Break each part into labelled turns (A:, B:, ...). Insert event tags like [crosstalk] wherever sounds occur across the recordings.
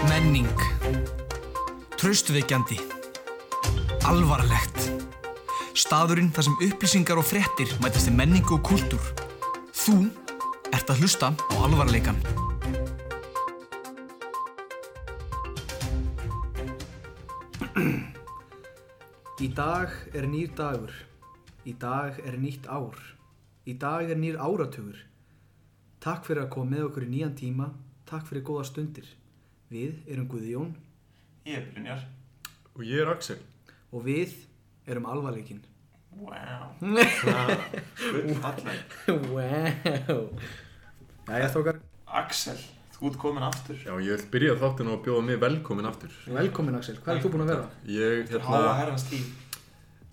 A: Spenning Traustvekjandi Alvarlegt Staðurinn þar sem upplýsingar og fréttir mætast í menningu og kúltúr Þú ert að hlusta á alvarleikan
B: Í dag er nýr dagur. Í dag er nýtt ár. Í dag er nýr áratugur. Takk fyrir að koma með okkur í nýjan tíma. Takk fyrir góða stundir. Við erum Guðjón
C: Ég er Brynjar.
D: Og ég er Axel.
B: og við erum alvarleikin.
D: [laughs]
C: Wow.
B: Wow! Jæja þókar,
C: Axel, þú ert komin aftur.
D: Já, ég vil byrja þáttinn á að bjóða mig velkomin aftur.
B: velkomin Axel. Hvað er þú búinn að vera?
D: Ég,
C: Háa
D: hérna,
C: herrans tíl.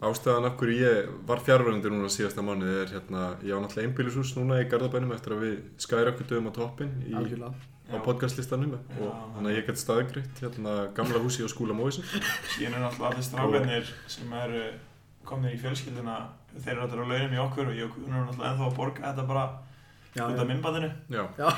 D: ástæðan af hverju ég var fjárverðandi núna síðasta mánuð er, hérna, ég á náttúrulega einbílisús núna í Garðabænum eftir að við skærakkutum á toppin í,
B: Algjörlega.
D: á podcastlistanum og þannig að ég gæti staðgreitt, hérna, gamla húsi á skúla móðisinn.
C: Síðan eru náttúrulega allir strákarnir sem eru komnir í fjölskylduna. Þeir eru allir á launum í okkur og ég og Guðnur eru náttúrulega ennþá að borga þetta bara
B: Já,
C: út af minnbandinu.
D: Já.
B: Já.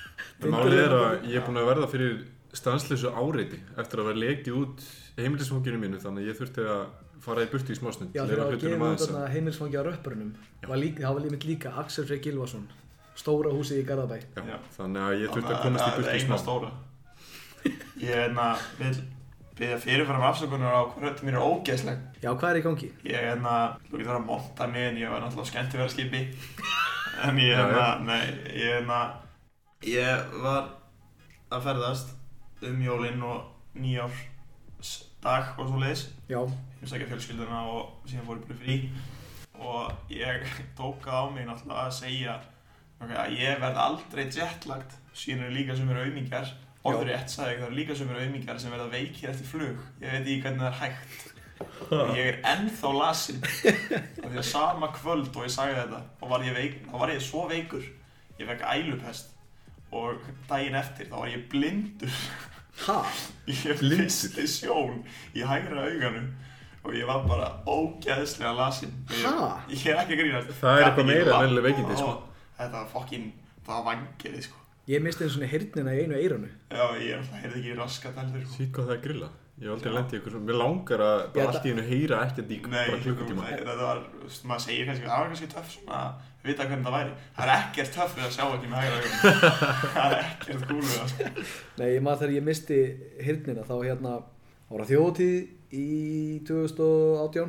B: [laughs]
D: En málið er að ég er búin að verða fyrir stansleysu áreiti eftir að vera lekið út heimilisfókinu mínu, þannig að ég þurfti að fara í burtu í smásnund.
B: Já, þegar að gefa út þarna heimilsfangi á röppurinnum.
D: um Já.
B: Var líka, það var límitt líka Axel Frey Gilvason. Stóra húsið í Garðabæ.
D: Já, þannig að ég þurfti að komast í burtu í
C: smá.
D: smásnund.
C: stóra. Ég er enna, vil byrja fyrirfram afsökunar á hvað röttum mér er ógeðsleg.
B: Já, hvað er í gangi?
C: Ég er enna, þú getur að monta mig en ég var náttúrulega skemmt að vera
D: [laughs]
C: skipi. En ég
D: Já,
C: er
D: já.
C: enna, nei, ég er enna, ég var að ferðast um jólinn og nýjársdag og svo leiðis.
B: Já,
C: Heimsækja fjölskylduna og síðan fór ég bara í frí. Og ég [laughs] tók það á mig náttúrulega að segja okay, að ég verð aldrei jetlagt. Síðan eru líka sem eru aumingjar. Orður rétt sagði ég, það eru líka sem eru aumingjar sem verða veikir eftir flug. Ég veit ekki hvernig það er hægt. Og ég er ennþá lasin af því að sama kvöld og ég sagði þetta þá var ég, veik, þá var ég svo veikur ég fekk ælupest og daginn eftir þá var ég blindur
B: ha?
C: ég
D: Blindur?
C: misti sjón í hægra auganu og ég var bara ógeðslega lasin Og ég,
B: Ha?
C: ég er ekki að grínast
D: Það er
C: Gat
D: eitthvað
C: ekki
D: meira en
C: labbað.
D: venjuleg veikindi, sko.
C: þetta var fokkin, það var vangerið sko
B: Ég misti eins og hirnina í einu eiranu.
C: já, ég er alltaf heyrði ekki raskat heldur sko.
D: Sýt hvað það er grilla Ég hef aldrei lendið ykkur svona Mér langar að bara
B: Ég
D: allt í hennu heyra ekkert í
C: Nei,
D: bara klukkutíma
C: nei, þetta var, þú veist, maður segir kannski, það var kannski töff svona að vita hvernig það væri. Það er ekkert töff við að sjá ekki með hægra
D: [laughs]
C: augunum. það er ekkert gúlu það, sko.
B: Nei, ég maður þegar ég misti hirnina þá hérna ára þjóðtíð í 2018
D: Já.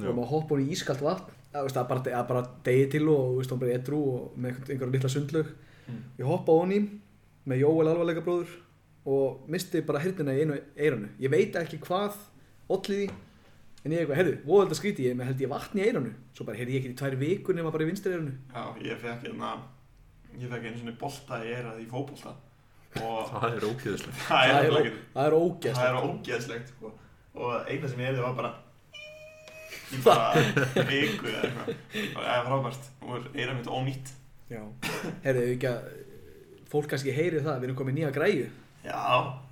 B: og maður hoppa hún í ískalt vatn að, veist, að, bara, að bara degi til og veist, hún bara edru og með einhvern- einhverja litla sundlög
C: Mm.
B: ég hoppa hún í með Jóel alvarleika bróður og misti bara hirnina í einu eiranu ég veit ekki hvað olliði en ég eitthvað, heyrðu, voðalda skríti ég með held ég vatn í eiranu svo bara heyrði ég ekki í tvær vikur nema bara í vinstri eiranu
C: Já, ég fekk hérna, ég fekk einu svona bolta í erað í fótbolta. Og
D: Það er ógeðislega
C: það er
B: það
C: alveg
B: er,
C: ekki,
B: það er ógæst
C: það er ógeðslegt, sko. Og eina sem ég erði var bara, ég bara viku eða eitthvað. Og Það er frábært, og eirað mitt ónýtt.
B: Já, heyrðu ef ekki að fólk kannski heyri það, við erum komið nýja græju
C: Já,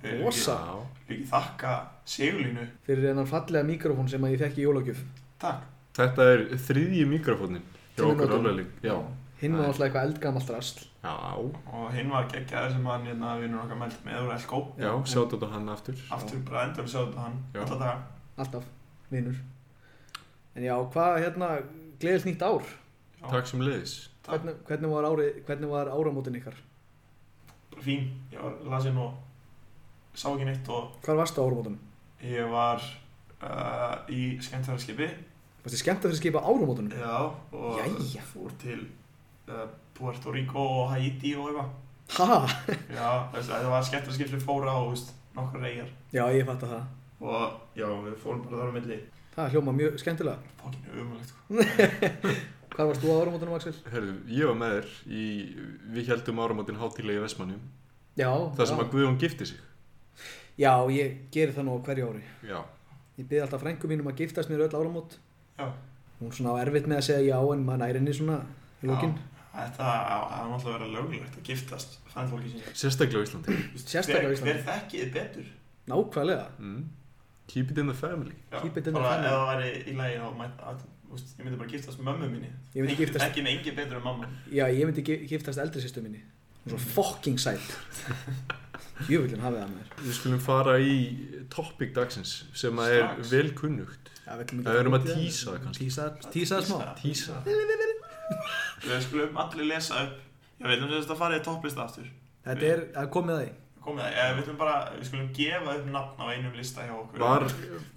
C: við erum ekki-
B: Rosa.
C: við erum ekki þakka segulínu.
B: fyrir hennan fallega mikrofón sem að ég fekk í jólagjöf
C: Takk.
D: Þetta er þriðji mikrofónin Hjá
B: Sem við
D: okkur
B: notum.
D: alveg lík Já
B: hinn var
D: Nei.
B: alltaf eitthvað eldgamalt rasl
D: Já,
C: og hinn var geggjaður sem hann hérna vinnur okkar meld með úr Elko
D: já sjátt á hann aftur
C: aftur bara endur við sjáum hann
D: Já.
C: alltaf daga
B: alltaf, vinnur en já, hvað hérna, gleðilt nýtt ár
C: Já.
D: Takk sem leiðis
C: Takk.
B: hvernig, hvernig, var ári, hvernig var áramótin ykkar
C: bara fín, ég var lasin og sá ekki neitt og
B: hvar varstu á áramótunum?
C: ég var uh, í skemmtverðarskipi
B: Varstu skemmt að fyrir skipa á áramótunum?
C: já og
B: Jæja.
C: fór til uh, Puerto Rico og Haiti og eitthvað
B: Ha?
C: já, þú veist, þetta var skemmtverðarskip sem fór á þú veist, nokkur reyjar
B: Já, ég fatt að það
C: og já, við fórum bara þar á milli
B: það hljóma mjög skemmtilega
C: fokkinu umlegt sko.
B: hvar varst þú á áramótunum, Axel?
D: Herðu, ég var með þér í Við heldum áramótin hátílega í Vestmannum
B: Já,
D: Það sem
B: já.
D: að Guðjón gifti sig
B: já, ég geri það nú á hverju ári
D: Já
B: ég byrði alltaf frængu mínum að giftast mér öll áramót
C: já,
B: hún svona á erfitt með að segja já en maður næri henni svona í lókin
C: þetta það var náttúrulega verið löglegt að giftast fann fólki sinni
D: Sérstaklega á Íslandi
B: Sérstaklega á
C: Hver-
B: Íslandi.
C: Hver þekkið þið betur?
B: nákvæmlega
D: mm. Keep it in the family
C: Já,
B: Keep it in the
C: bara
B: family.
C: ef það væri í lagi þá mætti að, úst, ég myndi bara giftast með mömmu minni
B: Ég myndi
C: Engin-
B: giftast-
C: ekki með engi betur en mamma Mm.
B: já ég myndi gi- giftast eldri sýstu minni hún er svo fucking sæt Jöfullin hafið það með þér.
D: Við skulum fara í topic dagsins sem að er
C: Strax.
D: vel kunnugt. Það erum að tísa það kannski.
B: Tísa, tísa það smá.
D: Tísa.
C: Við skulum allir lesa upp Já, við ætlum sem þetta að fara í topplista aftur
B: Þetta er að komið að því.
C: Komið það, eða við ætlum bara, við skulum gefa upp nafn á einum lista hjá okkur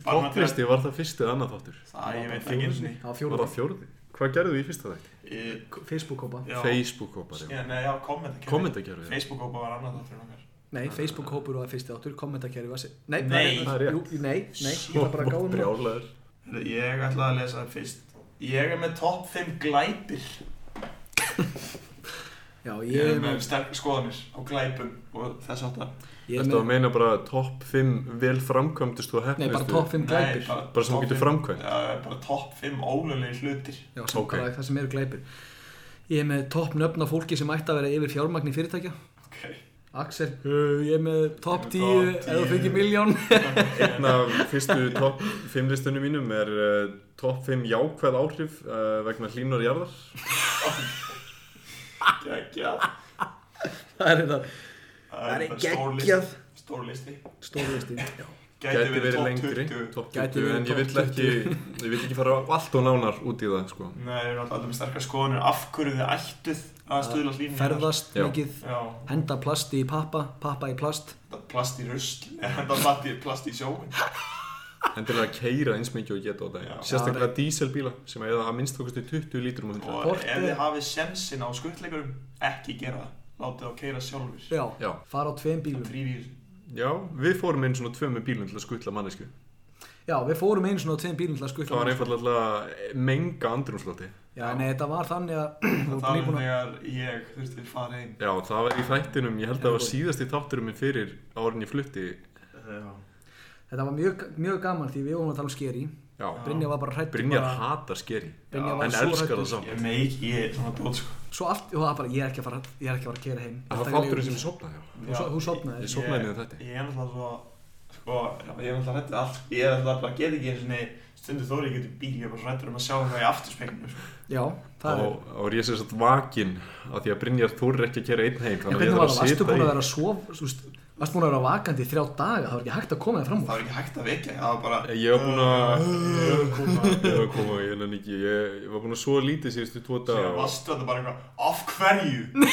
D: Var poplisti, var það fyrsti eða annað þáttur?
C: Það, ég veit ekki eins og
B: Það var
D: Var það
B: fjórum.
D: fjórði? Hvað gerðu í fyrsta þætti?
C: ný
B: Facebook-kópa.
D: Facebook-hópar, já.
C: Nei, já, kommentakerfi
D: Sko. Kommentakerfi, já.
C: Facebook-hópa var annað þáttur en okkar
B: Nei, Facebook-kópur og það fyrsti áttur, kommentarkerfi var sér. Nei,
C: Ah. Nei.
D: Það er rétt.
B: Jú, nei, nei, ég ætla bara að gáða mér.
D: Brjálæður.
C: Heyrðu, Ég ætla að lesa það fyrst Ég er með topp 5 glæpir
B: Já,
C: Ég er með
B: ég
C: sterk skoðanir á glæpum og þess aftar
B: er
D: Þetta að
B: með,
D: meina bara topp 5 vel framkvæmdustu og
B: nei,
D: hefnustu?
B: bara top 5 glæpir.
D: Bara sem þú getur framkvæmt.
C: Já, bara topp 5 ólulegi hlutir
B: Já, sem
D: Ok.
B: bara það sem eru glæpir. Ég er með topp nöfna fólki sem ætti að vera yfir fjármagn í fyrirtækja.
C: Ok
B: Axel, uh, ég er með topp
C: Ég er með
B: 10
C: topp
B: eða
C: 10.
B: fengið
D: [laughs]
B: miljón.
D: Einn af Hérna, fyrstu topp 5 listunum mínum er uh, topp 5 jákvæð áhrif uh, vegna hlínunar jarðar.
C: Geggjað
B: það er þetta
C: Það
B: er
C: bara stór
B: geggjað.
C: listi. Stór listi
B: stórlisti. Já.
C: Gæti verið topp
D: lengri,
C: 20
D: topp
B: Gæti
D: 20,
B: verið
D: en ég
B: topp
D: vill ekki, ég vill ekki fara allt og nánar út í það, sko.
C: Nei, við erum alltaf alltaf með sterkar skoðanir af hverju þið ættuð að stuðla hlýnum
B: Ferðast
D: Já.
B: mikið,
C: Já,
B: henda plasti í pappa, pappa í plast.
C: þetta plast í rusl [laughs] þetta plast í, plast í sjóin
D: En til að keira eins mikið og geta á
C: Já.
D: daginn. Sérstaklega díselbíla sem eða að minnst okkar 20 lítrum á 100.
C: og
B: Hvort
C: ef þið
B: er-
C: hafið sensin á skuttleikurum ekki gera það látið þá keira sjálfur
B: Já,
D: Já.
B: fara á tveim bílum.
C: þrýr í þessu
D: Já, við fórum einn svona tvö með bílum til að skutla mannesku.
B: Já, við fórum einu svona á tveim bílum til að skutla.
D: Það var einfallega að menga andrumslóti.
B: Já, nei, þetta var þannig að [clears throat]
C: það
B: þú var
C: var
B: nýbúin að
C: þegar ég þurfti að fara heim
D: Já, það var í þættinum, ég held að það var síðasti þátturum minn fyrir árin ég flutti.
C: já.
B: Þetta var mjög, mjög gaman því við vorum að tala um skeri
D: Já,
B: Brynja var bara hrætt
D: Brynjar hatar skeri,
B: Brynjar var
D: en
B: svo
D: elskar
B: hræddur.
D: það samt.
C: ég meik, ég er svona dót sko
B: Svo allt, og það var bara, ég er ekki að fara, ég er ekki að fara að kera heim
D: Það var
B: Þetta er
D: þátturinn
B: leiðin.
D: sem ég sopnaði, já.
B: Hún so- hún sofnaði.
D: Ég sofnaði niður þetta.
C: ég er náttúrulega svo sko, já, ég er náttúrulega hrættur allt sko. ég er náttúrulega bara get ekki eins og nei stundu þóri ég geti bíl ég er bara hrættur um að sjá það í afturspeglinu sko.
B: Já, það er
D: og, og er ég sem sagt vakin af því að Brynjar þorir ekki að kera einn heim
B: En
D: þannig að ég þarf að
B: hvernig var það, varstu
D: sita
B: búin
D: í
B: að vera að sof Þú veist, varstu búin að vera vakandi í þrjá daga Það var ekki hægt að koma þér fram
C: það
B: úr
C: var ekki hægt að vekja það var bara
D: Eh, Ég var búin að-
C: Ég var búin að
D: ég var að koma ég, nenni ekki, ég, ég var búin að svo lítið síðustu tvo
C: Sér
D: dag
C: vastu þetta bara eitthvað af hverju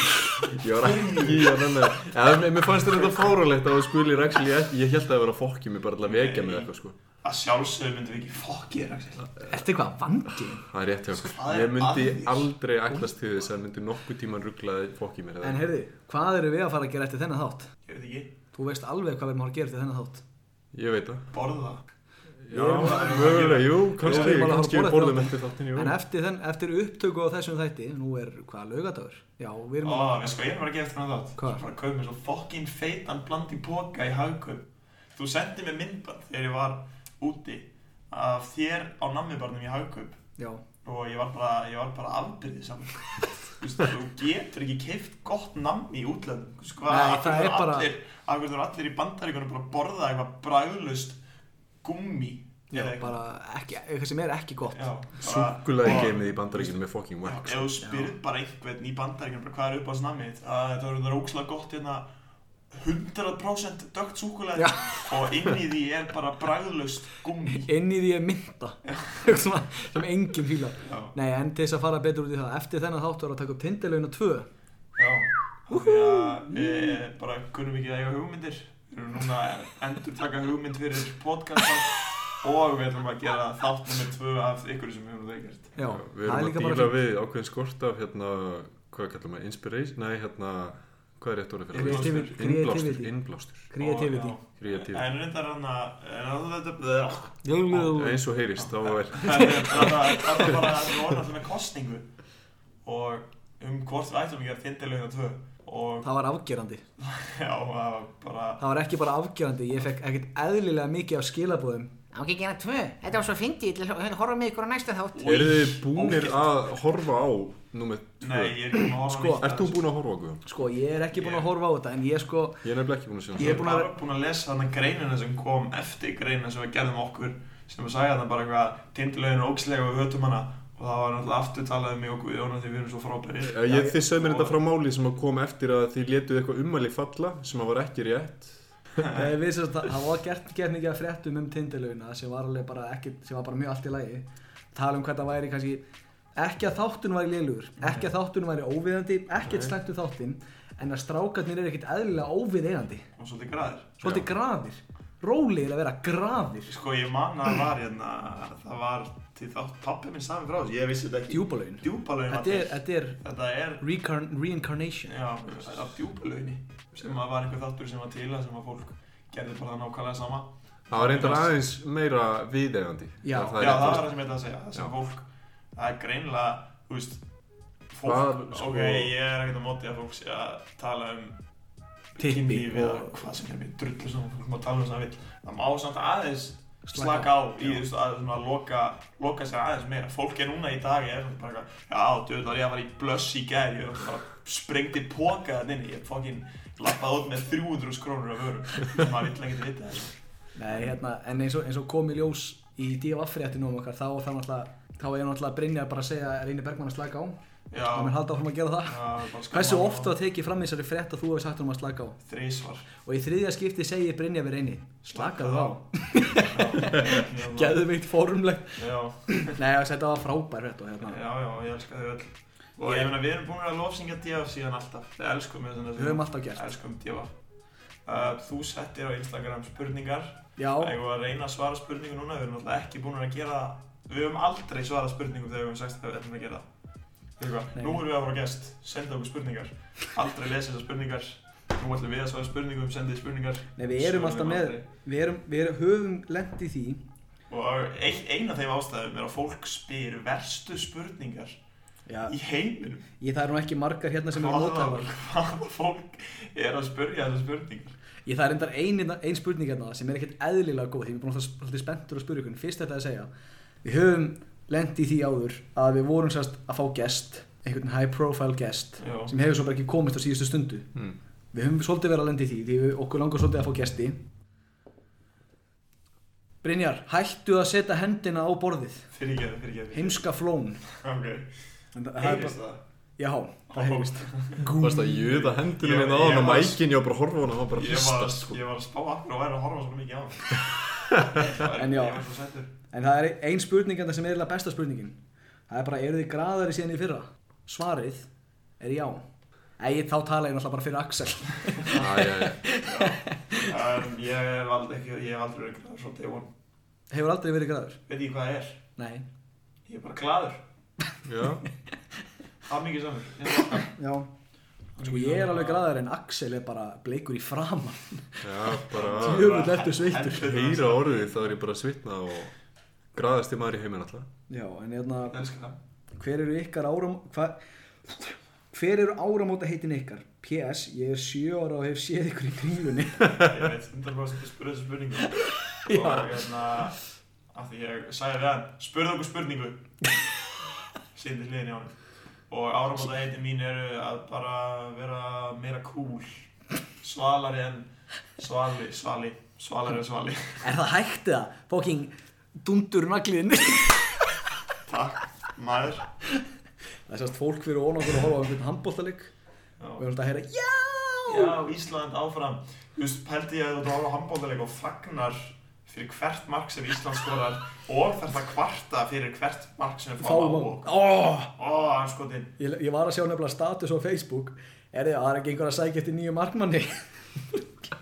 D: ég var ekki að nenni eða mér- mér fannst þetta fáralegt að skuli ræksli ég, ég held að það vera að fokki mig bara til að vekja mig eða eitthvað sko
C: að sjálfsögum myndum við ekki fokk ég er Axel
B: Ertu eitthvað vandi?
D: það er rétt hjá okkur.
C: Hvað er
D: ég myndi
C: að þér?
D: aldrei ætlast til þess að myndi nokkuð tíman rugglaði fokki mér eða
B: En heyrði, hvað eru við að fara að gera eftir þennan þátt?
C: ég veit ekki
B: Þú veist alveg hvað við erum að fara að gera eftir þennan þátt
D: ég veit það
C: borða
D: já, mögulega, jú,
B: Við
D: kannski,
B: erum bara að
D: kannski
B: fara
D: við
B: að borða
D: borðum eftir þáttin jú.
B: En eftir, þenn, eftir upptöku á þessum þætti, nú er hvað laugadagur? Já, við erum að
C: Ó, við sko, ég er bara að gefa eftir hann þátt
B: Hvað?
C: Ég er bara að kaupa mér svo fokkin feitan bland í póka í hagkaup Þú sendið mér myndband þegar ég var úti af þér á nammibarnum í hagkaup
B: Já,
C: og ég var bara, ég var bara afbyrðið
B: [laughs]
C: saman Þú veist, þú getur ekki keift gott nammi í útlöndum Þú veist, hvað,
B: Nei,
C: af hverju
B: það er
C: eru
B: bara-
C: allir, af hverju eru allir í bandaríkunum bara að borða eitthvað bragðlust gummi
B: já
C: eða eitthvað.
B: bara ekki, eitthvað sem er ekki gott
C: Já, bara-
D: súkulega
C: og-
D: geimið í bandaríkinu með
C: Já,
D: fokking wax sko.
C: ef þú spyrð bara einhvern í bandaríkjum hvað er upp á snammið, að þetta verður þetta rókslega gott hérna 100% dögt súkulega
B: Já.
C: og inn í því er bara bragðlaust
B: [laughs]
C: gummi
B: inn í því er mynda [laughs] Eitthvað svona, sem enginn fíla
C: Já.
B: nei en til þess að fara betur út í það eftir þennan þáttu var að taka upp tindileguna 2
C: Já, þannig að við bara kunnum ekki að eiga hugmyndir við erum núna að endur taka hugmynd fyrir podcastan og við ætlum að gera þátt nummer tvö af ykkur sem við höfum það gert
B: já,
D: Við
B: það
D: erum
B: er
D: að
B: líka bara
D: díla
B: fínt.
D: við ákveðin skort af hérna, hvað kallar maður, inspiration, nei hérna, hvað er rétt orðið fyrir það?
B: Creativity-
D: Innblástur,
B: creativity
D: innblástur,
B: creativity
C: Og, já,
D: kreatív.
C: En reyndar hann að en að þetta er
B: Jú,
D: Eins og heyrist, þá er,
C: Það er það er bara að við vorum alltaf með kostningu og um hvort við ætlum að gera tindilegina tvö og
B: það var afgerandi
C: já, það var bara
B: það var ekki bara afgerandi ég fekk ekkert eðlilega mikið af skilabóðum
E: Það má ekki gera tvö. Þetta var svo fyndið. Ég ætla að hérna horfa með ykkur á næsta þátt.
D: eru þið búnir að horfa á númer
C: Nei,
D: 2?
C: ég er ekki búin að horfa
B: Sko,
C: neitt að
D: Ert þú
C: þessu.
D: búin að horfa á Guðjón?
B: sko ég er ekki búinn að horfa á þetta en ég sko
D: Ég er nefnilega ekki búin að sjá
B: Ég
D: það.
B: er búin
C: Ég er
B: að-
C: bara búin að lesa hann greinina sem kom eftir greinina sem við gerðum okkur sem að sagði hann bara eitthvað tindilegin er ókslega og við hötum hana og það var náttúrulega aftur talað um mig og Guðjón af því við erum svo frábæri
D: Eh, Ég, þið sögðu mér þetta frá máli sem að kom eftir að þið letuð eitthvað ummæli falla sem að var ekki rétt.
B: Nei, eh, við sem sagt, það var gert gert mikið af fréttum um tindilöguna sem var alveg bara ekki, sem var bara mjög allt í lagi tala um hvað það væri kannski ekki að þáttun væri lélugur, ekki að þáttun væri óviðandi, ekkert slæmt um þáttinn en að strákarnir eru ekkert eðlilega óviðeigandi
C: og svolítið græðir
B: svolítið graðir, rólegir að vera graðir
C: sko ég man að það var hérna það var til þátt pappi minn sami frá þessu ég vissi þetta ekki
B: djúbalögin,
C: djúbalauðin var
B: þetta er,
C: til
B: þetta er
C: þetta er
B: reincarn, reincarnation
C: já, á djúbalauðinni sem að var einhver þáttur sem var til að sem að fólk gerði bara nákvæmlega sama
D: Það var reyndar aðeins meira viðegandi.
B: Já.
C: já
D: Ef það er
C: það
D: rétt.
C: var það sem ég ætla að segja það sem fólk það er greinlega þú veist fólk
D: Hvað, sko-
C: ok ég er ekkert á móti að fólk sé að tala um
B: Tippi
C: kynlíf eða
B: og-
C: hvað sem er mér drullu svona fólk má tala um það vill það má samt aðeins
B: Slaka
C: slaka á í þú veist að svona loka loka sér aðeins meira fólk er núna í dag ég er svona bara eitthvað já djöfull var ég að fara í blöss í gær ég bara sprengdi póka þann inni ég fokkin lappaði út með 300 krónur af vörum maður vill ekki vita það
B: Nei, hérna, en eins og, eins og kom í ljós í divafréttinum okkar, þá, þá, náttúrulega- þá er náttúrulega Brynjar bara að segja Reyni Bergmann að slaka á,
C: já Sko-
B: hann mun halda áfram að gera það Hversu oft var tekið fram í þessari frétt að þú hefði sagt um að slaka á? [laughs]
C: þrísvar
B: Og í þriðja skipti segir Brynja við reyni Slakaðu á
C: hérna, Já.
B: Gæðveikt formlegt
C: Já,
B: Nei, þessi, þetta var frábær frétt og hérna
C: já, já, ég elska þau öll Og ég meina, við erum búin að lofsingja DF síðan alltaf Við elskum við
B: Við höfum alltaf gert.
C: Elskum DF uh, Þú settir á Instagram spurningar
B: Já,
C: Þegar að reyna að svara spurningu núna Við erum alltaf ekki búin að gera það Við höfum aldrei svarað spurningum þegar við höfum sagt að við ætlum að gera það Veitu hvað,
B: Nei.
C: Nú erum við að fara á gest, senda okkur spurningar Aldrei lesa þessar spurningar Nú ætlum við að svara spurningum, sendið spurningar
B: nei, við
C: Svörum
B: erum alltaf með
C: aldrei.
B: Við, erum, við erum, höfum lent í því
C: Og ein, ein af þeim ástæðum er að fólk spyr verstu spurningar
B: Já,
C: í heiminum
B: ég það eru nú ekki margar hérna sem eru
C: Hvaða
B: mótæfar
C: hvaða fólk er að spurja þessar spurningar?
B: Ég það er endar ein, ein spurning hérna sem er ekkert eðlilega góð Því við erum búin að vera svolítið spenntur að spurja ykkur Fyrst þetta að segja Við höfum lent í því áður að við vorum sérst að fá gest Einhvern high profile gest
C: Já.
B: Sem hefur svo bara ekki komist á síðustu stundu
D: Hmm.
B: Við höfum svolítið verið að lenda í því því við okkur langar svolítið að fá gesti Brynjar, hættu að setja hendina á borðið
C: Fyrirgeðu, fyrirgeðu.
B: Heimska flón
C: Ok.
B: En það- það er
C: Heyrist
B: bara-
C: það?
B: Já, það heyrist
D: Varst að jöða hendunum
C: Ég-
D: hérna á
C: ég
D: hann og
C: var-
D: mækin, ég var bara að horfa á hann og hann var bara að
C: Ég var,
D: hrista, sko.
C: ég var að spá akkur og væri að horfa svona mikið á
B: [laughs]
C: hann.
B: En já.
C: Ég var svo sættur.
B: En það er ein spurninganda sem er eiginlega besta spurningin Það er bara, eru þið graðari síðan í fyrra? Svarið er já Æ, þá tala ég náttúrulega bara fyrir Axel
D: Æ, æ, æ.
C: Um, ég hef aldrei, ekki, ég hef aldrei verið glæður svo day one.
B: Hefur aldrei verið graður?
C: Veit ég hvað það er?
B: Nei
C: Ég er bara glæður.
D: Já.
C: Það mikið samur. Ég er-
B: Já Sko, ég er alveg graðar en Axel er bara bleikur í framan
D: Já, bara
C: [laughs]
B: Jöfull ertu sveittur
D: að heyra orðið þá er ég bara að svitna og graðast í maður í heiminn alltaf.
B: Já, en hérna
C: Ég elska það.
B: Hver eru ykkar áram... Hva, hver eru áramóta heitin ykkar? PS, ég er sjö ára og hef séð ykkur í kringlunni.
C: Ég veit 100% að spurðu þessu [laughs] spurningu. Og hérna, af því ég sagði við hann, spurðu okkur [laughs] spurningu. Sýndi hliðin í honum. Og áramóta heitin mín eru að bara vera meira cool. Svalari en svali, svali, svalari en svali.
B: [laughs] er það hægt eða? Fóking dundur nagliðin.
C: [laughs] Takk, maður.
B: það er sérst fólk fyrir ón okkur að horfa á einhvern handbóltaleg og við
C: Já.
B: erum alltaf að heyra já!
C: Já, Ísland áfram. Þú veist, pældi ég að þú ára á handbóltaleik og fagnar fyrir hvert mark sem Ísland skorar og þarf það kvarta fyrir hvert mark sem við fáum á og...
B: Oh,
C: Ó, anskotinn.
B: ég, ég var að sjá nefnilega status á Facebook. Er þið, það er ekki einhver að sækja eftir nýju markmanni? [laughs]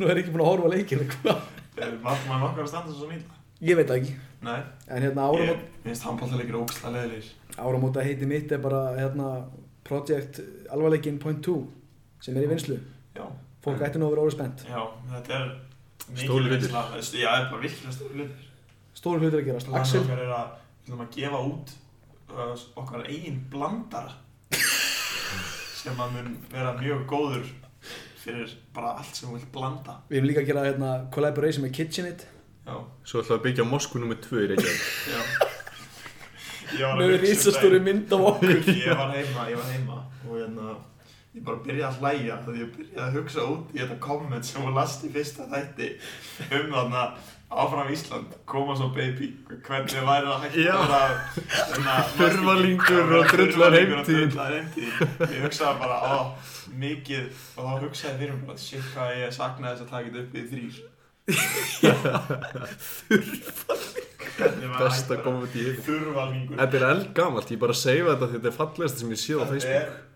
B: Nú er ég ekki búin að horfa á leikinu. hvað?
C: Er markmann okkar að standa svo sem illa?
B: ég veit það ekki.
C: Nei,
B: En
C: ég
B: hérna áramóta...
C: finnst handbóltaleikir ógstlega leðilegir.
B: áramóta heiti mitt er bara hérna, Project alvarleikin.2 sem er í vinslu
C: Já, Mm.
B: fólk ætti nú að vera orðið spennt
C: já, þetta er mikil
D: Stórir hlutir.
C: reynsla. Já, það er bara virkilega stóri hlutir.
B: stóru hlutur að gerast
C: Axel.
B: Axel,
C: Okkar er að, við ætlum að gefa út uh, okkar eigin blandara sem að mun vera mjög góður fyrir bara allt sem þú vilt blanda.
B: við erum líka að gera hérna, collaboration með KitchenAid
C: Já,
D: Svo ætlaði að byggja Moskú nr. 2 í Reykjavík.
C: já. Ég var að
B: með
C: hugsa um
B: risastóri
C: daginn. [laughs]
B: mynd af okkur
C: Ég var heima, ég var heima og hérna ég bara byrjaði að hlæja af því ég byrjaði að hugsa út í þetta komment sem hún lasti í fyrsta þætti um þarna áfram Ísland koma svo baby, hvernig væri það hægt
D: Já.
C: að vera svona
D: Þurfalingur og drullar heimtíðin.
C: drullar heimtíðin. ég hugsaði bara, ó, mikið og þá hugsaði ég fyrir mig bara, shit hvað ég saknaði þess að taka þetta upp í þrýr
D: [laughs]
C: Þurfalingur
D: Besta komið í heim
C: Þurfalingur
D: Þetta er eldgamalt, ég bara seifa þetta því þetta er fallegast sem ég séð á Facebook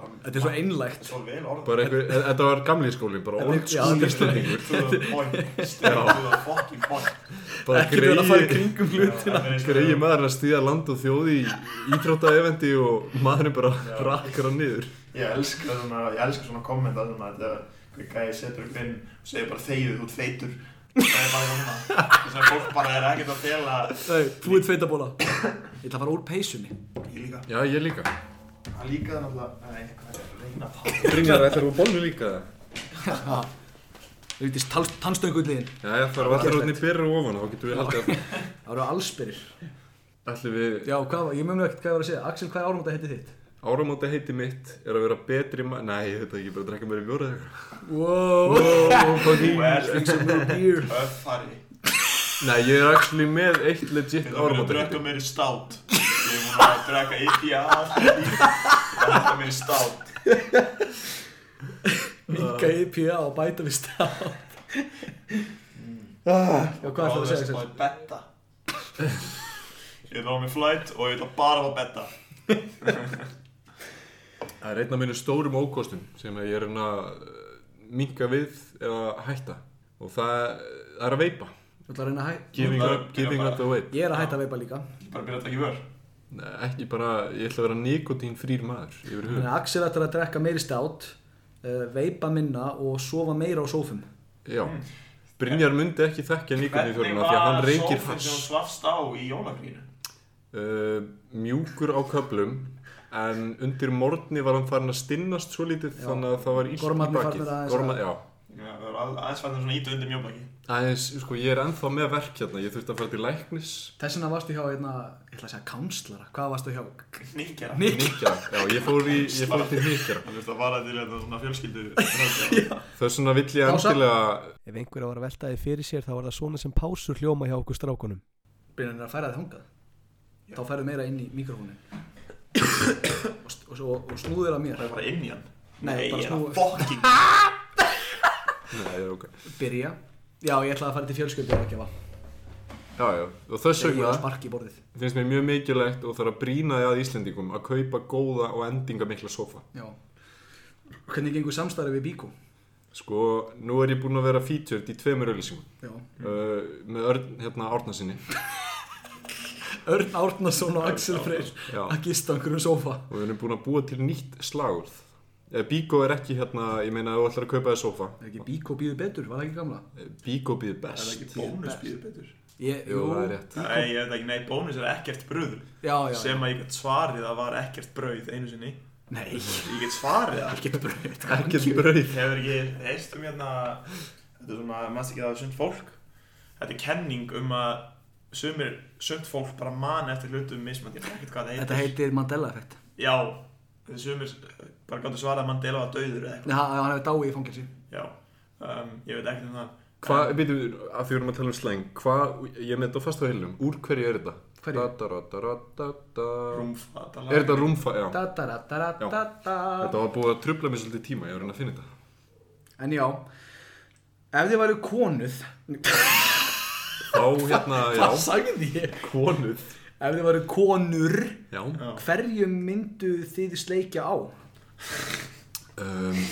B: Þetta er svo einlægt
C: Svo vel orðað
D: bara einhver, e- Þetta var gamli skólin, bara
B: Þetta er-
D: old
B: já,
D: school
B: þetta er-
D: Íslandingur
C: To the point, straight to the fucking point
D: Bara
B: Ekki verið að fara í
D: greiði
B: kringum hlutina
D: Greiði
C: Ég
D: maður að stíða land og þjóði í ítróta eventi og maðurinn bara rakkar hann niður
C: elska svona, ég elska svona kommenta svona þetta hver gæði setur upp inn og segir bara þegið þú ert feitur það er bara svona þess að fólk bara er ekkert að fela
B: Nei, þú ert feitabóla Ég ætla að fara úr peysunni
C: ég líka
D: Já, ég líka
C: það líka það náttúrulega nei, hvað er að reyna að tala
D: Brynjar, ætlar þú bólnu líka?
B: Þú veitist tannstöngulliðin
D: Já, ég þarf allir átni byrra ofan, þá getum við haldið að
B: Það eru allsbyrjir
D: Ætli við
B: Já, hvað, var- ég mjög mjög ekkert hvað ég var að segja Axel, hvað er árum þetta heiti þitt?
D: áramóta heiti mitt er að vera betri maður Nei, ég veit það ekki, bara að drekka mér í mjóra
B: Wow
C: þú er
B: Drink some more beer
C: öffari
D: Nei, ég er actually með eitt legit
C: við erum búin að
D: áramóta
C: drekka meiri stát við erum búin að drekka IPA drekka meiri stát
B: Minka IPA og bæta við [laughs] stað Ah. Já, hvað er það að segja, Axel?
C: að betta ég er á mig flight og ég ætla bara að betta
D: Það er einn af mínum stórum ókostum sem ég er hérna minga við eða hætta og það það er að veipa
B: Þú ætla að reyna að hæ
D: giving
C: Það-
D: up, giving up the vape
B: Ég er að hætta að veipa líka
C: bara byrja að taka í vör
D: Nei, ekki bara, ég ætla að vera nikotín frýr maður yfir
B: Þannig
D: hug
B: að Axel ætlar að drekka meiri stát uh, Veipa minna og sofa meira á sófum
C: Mm.
D: Já, Brynjar myndi ekki þekkja nikotín fjöruna því að hann reykir
C: sófinn sem þú
D: hass
C: svafst á í jólagrínu?
D: uh, Mjúkur á köflum en undir morgni var hann farin að stinnast svo lítið
B: Já.
D: þannig að það var illt í
B: Gormarnir
D: bakið
B: farnir aðeins
D: Gorma,
B: að-
D: Já,
C: Já, það er al- aðeins fannir svona ítu undir mjóbaki.
D: aðeins, sko, ég er ennþá með verk hérna ég þurfti að fara til læknis
B: Þess vegna varstu hjá einna, ég ætla að segja kánslara Hvað varstu hjá?
C: Nikjara.
B: Nick-
D: Nikja, já, ég fór, í, ég fór til Nikja
C: Hann veist að fara til þetta svona fjölskyldu. [laughs] Já.
D: Það er svona vill ég
B: Pása.
D: endilega
F: Ef einhver var að velta þið fyrir sér þá var það svona sem pásur hljóma hjá okkur strákunum.
B: Byrjanir að færa þig hangað Þá færðu meira inn í mikrofónin og, st- og, svo- og snúður að mér
C: Það er bara inn í hann.
B: Nei,
C: Nei,
B: bara
C: ég er að
B: snúa-
C: fokking.
D: Nei, ok
B: Byrja Já, ég ætla að fara til fjölskyldu að gefa
D: Já, já, og þess
B: Þegar ég var
D: vegna
B: spark í borðið
D: finnst mér mjög mikilvægt og þarf að brína því að Íslendingum að kaupa góða og endingamikla sofa
B: Já Hvernig gengur samstarfið við Bíko?
D: Sko, nú er ég búinn að vera featured í tveimur auðlýsingum
B: Já
D: uh, með Örn, hérna, Árnasinni
B: Örn Árnason og Axel Freyr
D: Já.
B: að gista okkur um sófa
D: og við erum búin að búa til nýtt slagurð Eh, Bíkó er ekki hérna, ég meina ef þú ætlar að kaupa þér sofa
B: Er ekki Bíko býður betur, var það ekki gamla?
D: Eh, Bíkó býður
C: Það er
D: best
C: ekki bónus býður betur.
B: Ég,
D: Jú, það er rétt
C: Nei, ég veit ekki, nei, bónus er ekkert bröður.
B: Já, já, já.
C: Sem að ég get svarið að var ekkert brauð einu sinni.
B: Nei,
C: Ég get svarið að.
B: ekki bröð
D: Ekkert brauð
C: Hefur ekki, heist um hérna, þetta er svona, mannst ekki það er sund fólk. Þetta er kenning um að sumir sund fólk bara man eftir hlutum mismandi. Ég veit ekkert hvað það
B: Þetta heitir Mandela effekt
C: Já, þessi sumir bara gáttu svarað að Mandela var döður eða eitthvað.
B: Nei, hann hann hefði dáið í fangelsi
C: Já, um, ég veit ekkert um það.
D: Hvað, býtu, að því við erum að tala um slang Hvað, ég með þetta á fast á heilum Úr hverju er þetta?
B: Hverju?
D: Da-da-da-da-da-da
C: Rúmfatalag.
D: Er þetta rúmfa, já
B: Da-da-da-da-da-da
D: Þetta var búið að trubla mér svolítið tíma, ég var að reyna að finna þetta
B: En já, ef þið væru konuð
D: Þá hérna,
C: [laughs]
B: Hvað
D: já
B: sagði ég?
D: Konuð
B: Ef þið væru konur
D: Já
C: Já.
B: Hverjum myndu þið sleikja á?
D: um,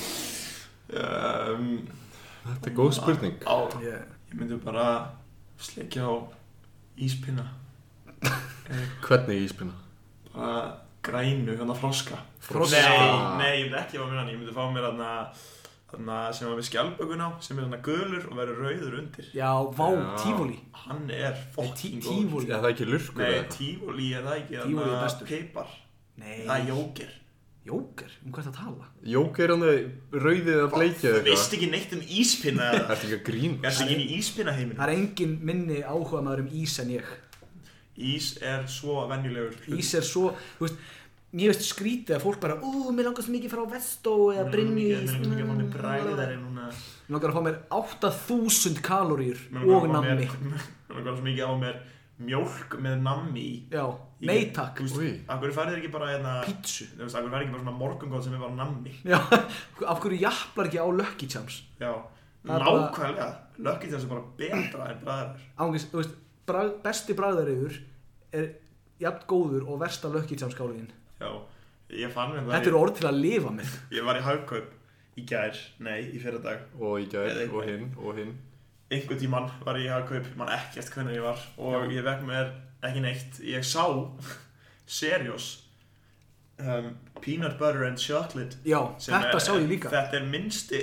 C: Um,
D: Þetta er góð spurning
C: á,
B: Yeah.
C: ég myndi bara sleikja á íspinna.
D: Hvernig íspina?
C: Bara grænu, hérna froska.
D: Froska.
C: Nei, nei, ég myndi ekki fá mér hann. Ég myndi fá mér hann Þannig sem var með skjálpökun á, sem er hann gulur og verður rauður undir.
B: Já, vá,
D: Já.
B: tífóli
C: Hann er fokking góð.
B: Tífóli
D: Er það ekki lurkur
C: Nei,
D: eða?
C: tífóli er það ekki.
B: Tívolí er
C: þarna
B: bestur.
C: Pipar. Það er
B: Nei,
C: jóker.
B: jóker, um hvað það tala?
D: Jók er hann að rauðið að bleikja
C: Þú
D: eða
C: veist
D: eitthvað
C: ekki neitt um íspinna eða?
D: [laughs] Ertu ekki að grín?
C: Ég ætti ekki inn í íspinna heiminn
B: Það er engin minni áhuga maður um ís en ég
C: Ís er svo venjulegur hlutur.
B: Ís er svo, þú veist mér veist skrítið að fólk bara ú, mér langast mikið frá Vestó eða
C: Mér
B: Brynjís
C: er mikið að fá mér bræðari
B: mér
C: núna
B: langar að fá mér 8000 kaloríur
C: Mig langar að
B: og
C: fá [laughs] mér-
B: nammi
C: Mig langar svo mikið á mér mjólk með nammi í
B: já, nei takk
C: Þú
D: Új.
C: veist, akkur færið þeir ekki bara hérna
B: pítsu
C: Þú veist, akkur færið ekki bara svona morgungóð sem er bara nammi
B: já, [laughs] af hverju jafnlar ekki á Lucky Charms
C: Já,
B: Það er bara-
C: nákvæmlega Lökkið þessi bara betra en bræðar
B: ángis, þú veist, brag, besti bræðariður er jafn góður og versta Lucky Charms kálíðin
C: Já, ég fann mér
B: þetta eru orð til að lifa með
C: Ég var í hagkaup í gær, nei, í fyrradag
D: og í gær
C: Eða eitthvað.
D: og hinn og hinn
C: einhvern tíman var ég í hagkaup, mann ekkert hvernig ég var og ég vekk mér ekki neitt ég sá Seriós um, Peanut Butter and Chocolate
B: já,
C: sem
B: þetta
C: er-
B: sá ég líka
C: þetta er minnsti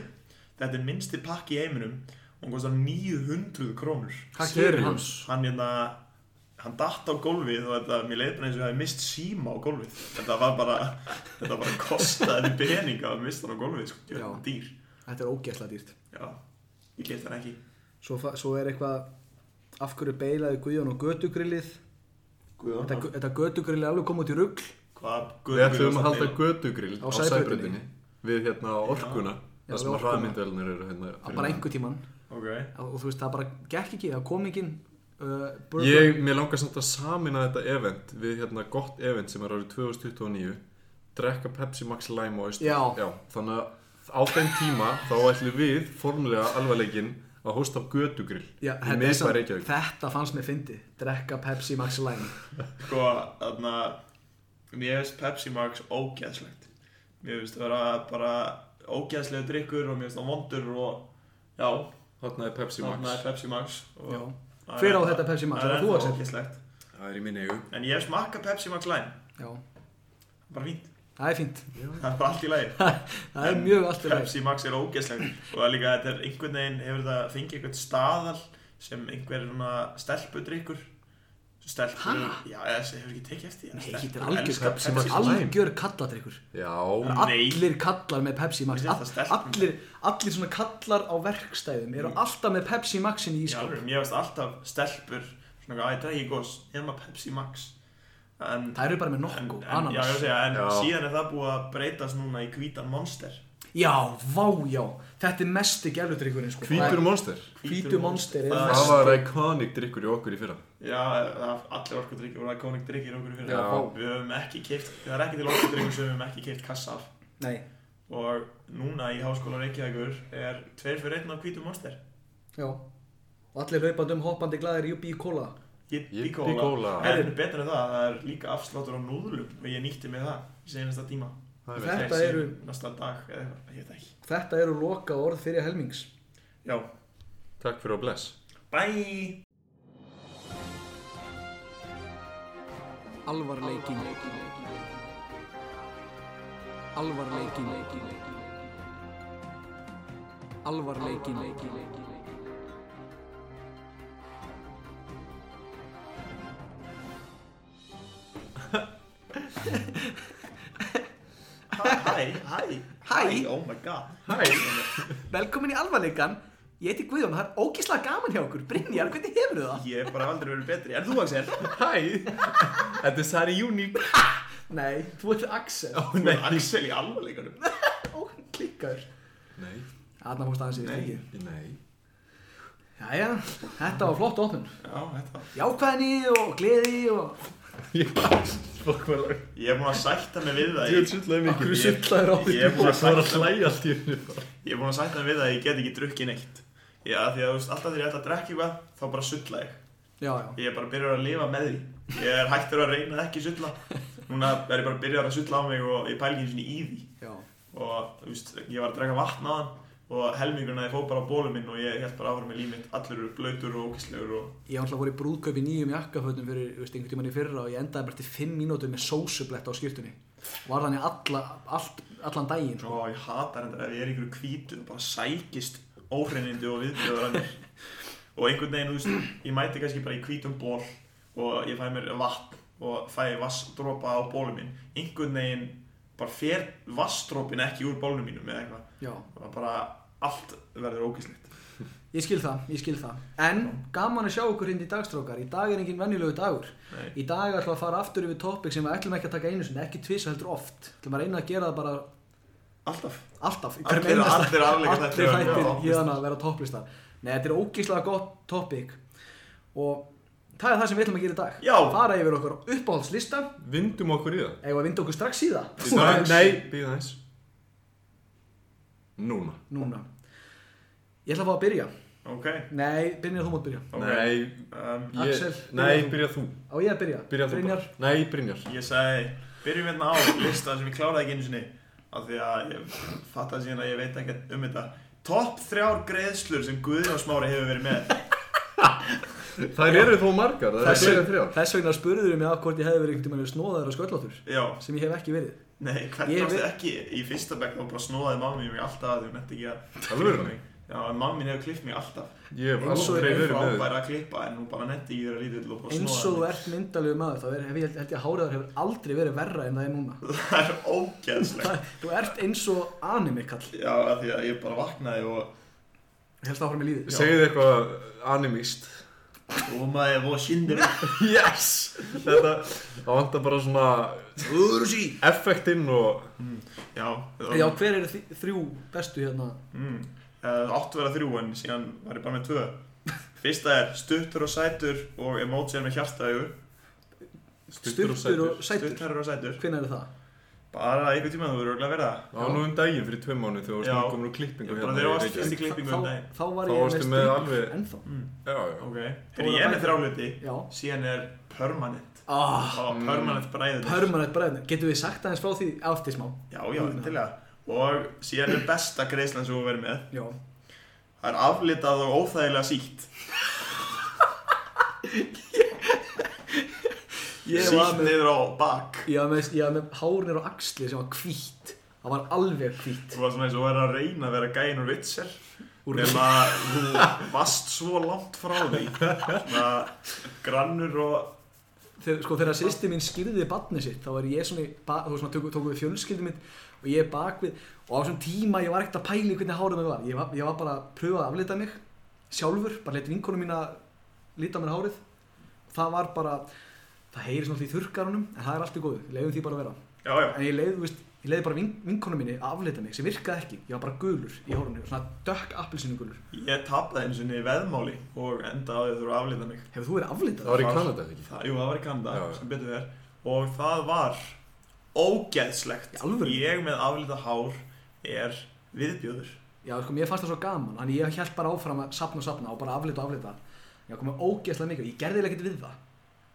C: [coughs] þetta er minnsti pakki í heiminum og hún kostar 900 krónur
B: hvað gerir hann?
C: hann hérna hann datt á gólfið og þetta, mér leiði bara eins og ég hafi mist síma á gólfið þetta var bara, [laughs] þetta bara kostaði mig peninga að mista hann á gólfið sko,
B: Já.
C: djöfull dýr
B: þetta er ógeðslega dýrt
C: já, ég get hann ekki
B: svo, fa- svo er eitthvað af hverju beilaði Guðjón og götugrillið
C: Guðjón,
B: þetta, þetta götugrillið er alveg komið út í rugl
C: Hvað
D: Við ætlum að halda gödugrill
B: Á
D: á
B: Sæbrautinni.
D: sæbröndinni Við hérna á orkuna
B: Já,
D: Það sem
B: við
D: að
B: Orkuna.
D: hraðmyndavelnir eru hérna
B: að bara einhver tíman
C: Ok,
B: og þú veist það bara gekk ekki, það kom engin uh, burger.
D: Ég, mér langar samt að samina þetta event Við hérna gott event sem er árið 2029 Drekka Pepsi Max Lime og Oyster
B: Já.
D: Þannig að á þeim tíma þá ætlum við formulega alvarleikin að hósta á gödugrill í
B: Já, þetta, er
D: miðbæ
B: samt-
D: Reykjavík
B: þetta fannst mér fyndi drekka Pepsi Max Lime
C: sko, þarna Mér finnst Pepsi Max ógeðslegt Mér finnst það vera bara ógeðslega drikkur og mér finnst það vondur og já,
D: Þarna er Pepsi
C: þarna
D: Max
C: er Pepsi Max og
B: Já.
C: það er
B: Hver á
C: ennþá-
B: þetta Pepsi Max?
C: Það
B: Var
C: er
B: þú að
C: ennþá
B: setja?
C: ógeðslegt
D: Það er í minni eigu
C: En ég hef smakkað Pepsi Max Lime
B: Já,
C: Bara fínt,
B: það er fínt
C: það er bara allt í lagi
B: það er mjög allt í lagi
C: Pepsi Max er ógeðslegt og það er líka þetta er einhvern veginn hefur þetta fengið einhvern staðal sem einhver svona stelpudrykkur stelpur,
B: Ha?
C: já, eða þessi hefur ekki tekið eftir því, en
B: Nei, þetta
C: stelpur
B: er algjör,
C: elska
D: Pepsi
B: þetta
D: Max
B: er
D: Lime.
B: algjör kalladrykkur
D: Já,
C: Nei.
B: Allir kallar með Pepsi Max
C: Mér finnst það
B: All-
C: stelpum.
B: allir, allir svona kallar á verkstæðum eru alltaf með Pepsi Maxin í
C: Já,
B: ískap
C: mér finnst alltaf stelpur svona að það er ekki góðs, ég er maður Pepsi Max en,
B: Það sko eru bara með
C: en,
B: nokku,
C: en, já, ég
B: ananas
C: segja, en
D: Já.
C: síðan er það búið að breytast núna í hvítan monster
B: Já, vá, já Þetta er mesti gæludrykkurinn sko
D: hvítur monster
B: Hvítu monster er
C: það,
D: Það var iconic drikkur í okkur í fyrra
C: Já, það- allir orkudrykkir voru iconic drikkir okkur fyrir
D: Já.
C: við höfum ekki keift, það er ekki til orkudrykkur sem við höfum ekki keift kassa af
B: Nei,
C: og núna í Háskóla Reykjavíkur er tveir fyrir einn af hvítum monster
B: já Og allir hlaupandi um hoppandi glæðir Júbí kóla
D: Yippee
C: Jippíkóla
D: Cola.
C: Það er betur en það, það er líka afsláttur á núðlum og ég nýtti mig það í senasta tíma
D: Það er
B: Þetta
C: Þessi
B: eru-
C: Næsta dag eða eitthvað, ég veit það ekki
B: Þetta eru loka orð fyrir helmings
C: Já,
D: vel. Takk fyrir að bless
C: bye!
B: Alvarleikin Alvarleikin Alvarleikin
C: Hæ, hæ,
B: [laughs] Hæ.
C: oh my god
B: Velkomin í alvarleikan Ég heiti Guðjón, það er ógislega gaman hjá okkur Brynjar, hvernig hefur það?
C: Ég hef bara aldrei verið betri, er þú
B: [laughs]
C: Axel?
D: Hæ, þetta er Sari Unique
B: Nei, þú ert Axel
D: Ó
C: Þú er Axel í alvarleikunum
B: Ó, klikkaður
D: Nei,
B: Þarna fórst aðeins í
C: Nei.
B: stikið
D: nei
B: Jæja, þetta var flott opnun
C: Já, þetta
B: Jákvæðni og gleði og
D: Ég fokk var langt
C: Ég er búin að sætta mig við það
D: Ég er
C: Ég
D: svolítið mikið
B: Akkur sullaður á
C: Ég-
B: því
C: ég er búin að
D: var
C: sætta
D: að hlæja allt í hennu
C: Ég er búin að sætta mig við það að ég get ekki drukkið neitt Já, því að þú veist, alltaf þegar ég ætla að drekka eitthvað þá bara sulla ég
B: Já, já,
C: Ég er bara byrjar að lifa með því Ég er hættur að reyna að ekki sulla Núna er ég bara byrjar að sulla á mig og ég pæl ekki einu sinni í því
B: já
C: Og þú veist, ég var að draka vatn á hann Og helmingurinn að ég fóð bara á bólum minn Og ég held bara áfram með líf mitt Allir eru blöytur og ókislegur og
B: Ég ætla að fór í brúðkaup í nýjum jakkafötum fyrir þú veist, einhvern tímann í fyrra og ég endaði bara til 5 mínútur með sósubletta á skýrtunni Var þannig alla, allt, allan daginn sko.
C: Ó, ég hata reyndar ef ég er ykkur hvítu og bara sækist óhreinindi og viðbjöður að mér og einhvern veginn, þú veist, ég mæti kannski bara í hvítum ból og ég fæ mér vatn og fæ vassdropa á bólum minn einhvern veginn bara fer vassdropin ekki úr bólum mínum eða eitthvað
B: Já,
C: og bara allt verður ógíslitt
B: Ég skil það, ég skil það. En gaman að sjá okkur hindi í dagstrókar. Í dag er engin venjulegu dagur.
C: Nei.
B: Í dag ætlum við að fara aftur yfir topic sem við ætlum ekki að taka einu sinni, ekki tvisa heldur oft. Ætlum að reyna að gera það bara
C: alltaf
B: alltaf. í
C: Allir-
B: hverjum einasta-
C: allir afleika þetta eru
B: Allir hættir
C: topplista.
B: hérna að vera topplistar. Nei, þetta er ógíslega gott topic. Og það er það sem við ætlum að gera í dag.
C: Já.
B: Fara yfir okkur uppáhaldslista.
D: Vindum okkur í það.
B: Eða að vinda okkur strax í það.
D: Í dag, nei, býða þess. Núna.
B: Núna. Ég ætla að fá að byrja.
C: ok,
B: Nei, Brynjar, þú mátt byrja.
C: ok
D: Nei,
C: um,
D: ég,
B: Axel,
D: nei,
B: byrja þú.
D: byrja þú.
B: Á ég að byrja?
D: Byrja þú.
B: Brynjar.
D: bara. Nei, Brynjar.
C: Ég sagði, byrjum hérna á lista sem ég kláraði ekki einu sinni af því að ég fattaði síðan að ég veit ekki um þetta Topp þrjár greiðslur sem Guðjón Smári hefur verið með
D: Þær eru þó margar, það er
B: Þessi-
D: byrja þrjá.
B: Þess vegna spurður mig af hvort ég hefði verið einhvern tímann snóðaður og sköllóttur
C: Já,
B: sem ég hef ekki verið.
C: nei,
B: Ég
C: hvernig varstu
B: veit-
C: ekki í fyrsta bekk þá bara snóðaði mammi mig alltaf að því hún eftir ekki að
D: Alvöru?
C: klippa mig Já, en mammi hefur klippt mig alltaf
D: Ég hef
B: Eins og
D: aldrei
B: er
D: verið með þig.
C: frábæra að klippa en hún bara netti ekki verið að lítið til og bara
B: Eins og þú
C: snóðaði mig.
B: ert myndalegu maður þá er, hef, ég, held- held ég að háriðar hefur aldrei verið verra en það er núna.
C: [laughs] Það er ógeðslegt
B: Það, þú ert eins og anime kall.
C: Já, af því að ég bara vaknaði og
B: Helst áfram í lífið.
D: Segðu eitthvað animist.
C: og maður voru sindir
D: [laughs] Yes! Þetta, það vantar bara svona effektinn og...
C: Já,
B: Já, hver eru þi- þrjú bestu hérna?
C: Mm. Það áttu að vera þrjú en síðan var ég bara með tvö Fyrsta er stuttur og sætur og emoji er með hjartaðugur
D: Stuttur og
B: Stuttur
D: sætur.
B: og sætur.
C: Stuttur og sætur
B: Hvenær er það?
C: Bara einhver tíma þú verður örugglega að vera það
D: Það var nú um daginn fyrir tveim mánu þegar þú
C: Já.
D: varst komin úr klippingu hérna
C: Ég bara þegar
D: í
C: varst
D: Reykjavík.
C: fyrst í klippingu um daginn
B: Þá var
D: Þá
B: ég
D: varstu með Mm.
B: stuttur
D: alveg-
B: Ennþá.
D: Já, já.
C: Ok
B: Þú
C: Þegar ég er með
B: verður
C: þrjá hluti
B: Já.
C: Síðan er permanent
B: Ah,
C: Þá var permanent bræðið
B: permanent bræðin. Getum við sagt aðeins frá því aftur smá?
C: Já, já, endilega Og síðan er besta greiðslan sem þú verður með
B: Já.
C: Það er aflitað og óþægilega sítt
B: Ég var
C: Sítt
B: með,
C: niður á bak
B: ég var með, ég var með hárnir og axli sem var hvítt. Það var alveg hvítt.
C: Þú var svona eins og verður að reyna að vera gæin úr vitsel nema þú vast svo langt frá því svona grannur og
B: þegar, sko, þegar sýsti mín skýrði barnið sitt þá var ég svona, í ba- þú veist maður tóku, tóku við fjölskyldum mitt og ég bakvið og á þessum tíma ég var ekkert að pæli hvernig hárið mér var ég var, ég var bara að pröfa að aflita mig sjálfur, bara leitt vinkonum mína lita á mér hárið það var bara, það heyri svona því þurrkarunum en það er allt í góðu, leiðum því bara að vera
C: já já,
B: en ég leið, þú veist, ég leiði bara vin, vinkonum minni að aflita mig sem virkaði ekki, ég var bara gulur í hórinu, svona dökk appelsinu gulur
C: ég tapaði eins og niður veðmáli og enda á því að þú eru að aflita mig
B: hefur þú
D: Það
B: verið aflitað?
D: var í Kanada, ekki?
C: það, jú, það var í Kanada,
D: Já, já.
C: sem betur verð og það var ógeðslegt
B: Í alvöru?
C: ég með aflita hár er viðbjóður
B: Já, sko, mér fannst það svo gaman, þannig ég held bara áfram að sapna og sapna og bara aflita og aflita. Ég kom með ógeðslega mikið, og ég gerði ekkert við það.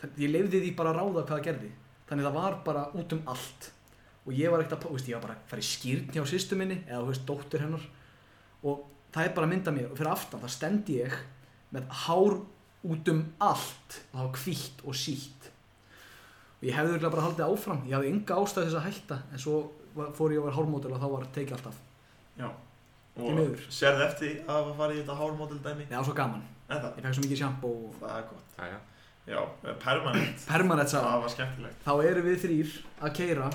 B: Þannig, ég leiði því bara að ráða hvað það gerði. Þannig það var bara út um allt. Og ég var ekkert að, pá- þú veist, ég var bara að fara í skýrn hjá sýstu minni, eða þú veist, dóttur hennar. Og það er bara að mynda mér, og fyrir aftan, það stend ég með hár út um allt, og það var hvítt og sítt. Og ég hefði örugglega bara haldið áfram, ég hafði enga ástæðu til þess að hætta, en svo var- fór ég að vera hármódel og þá var tekið allt af.
C: já
B: Því
C: og
B: miður.
C: sérðu eftir því að hafa farið í þetta hármódel dæmi
B: Já, svo gaman.
C: en það,
B: Ég fekk svo mikið sjampo og
C: það er gott
D: Jæja.
C: já, eh, permanent,
B: permanent sá.
C: það var skemmtilegt
B: Þá erum við þrýr að keira.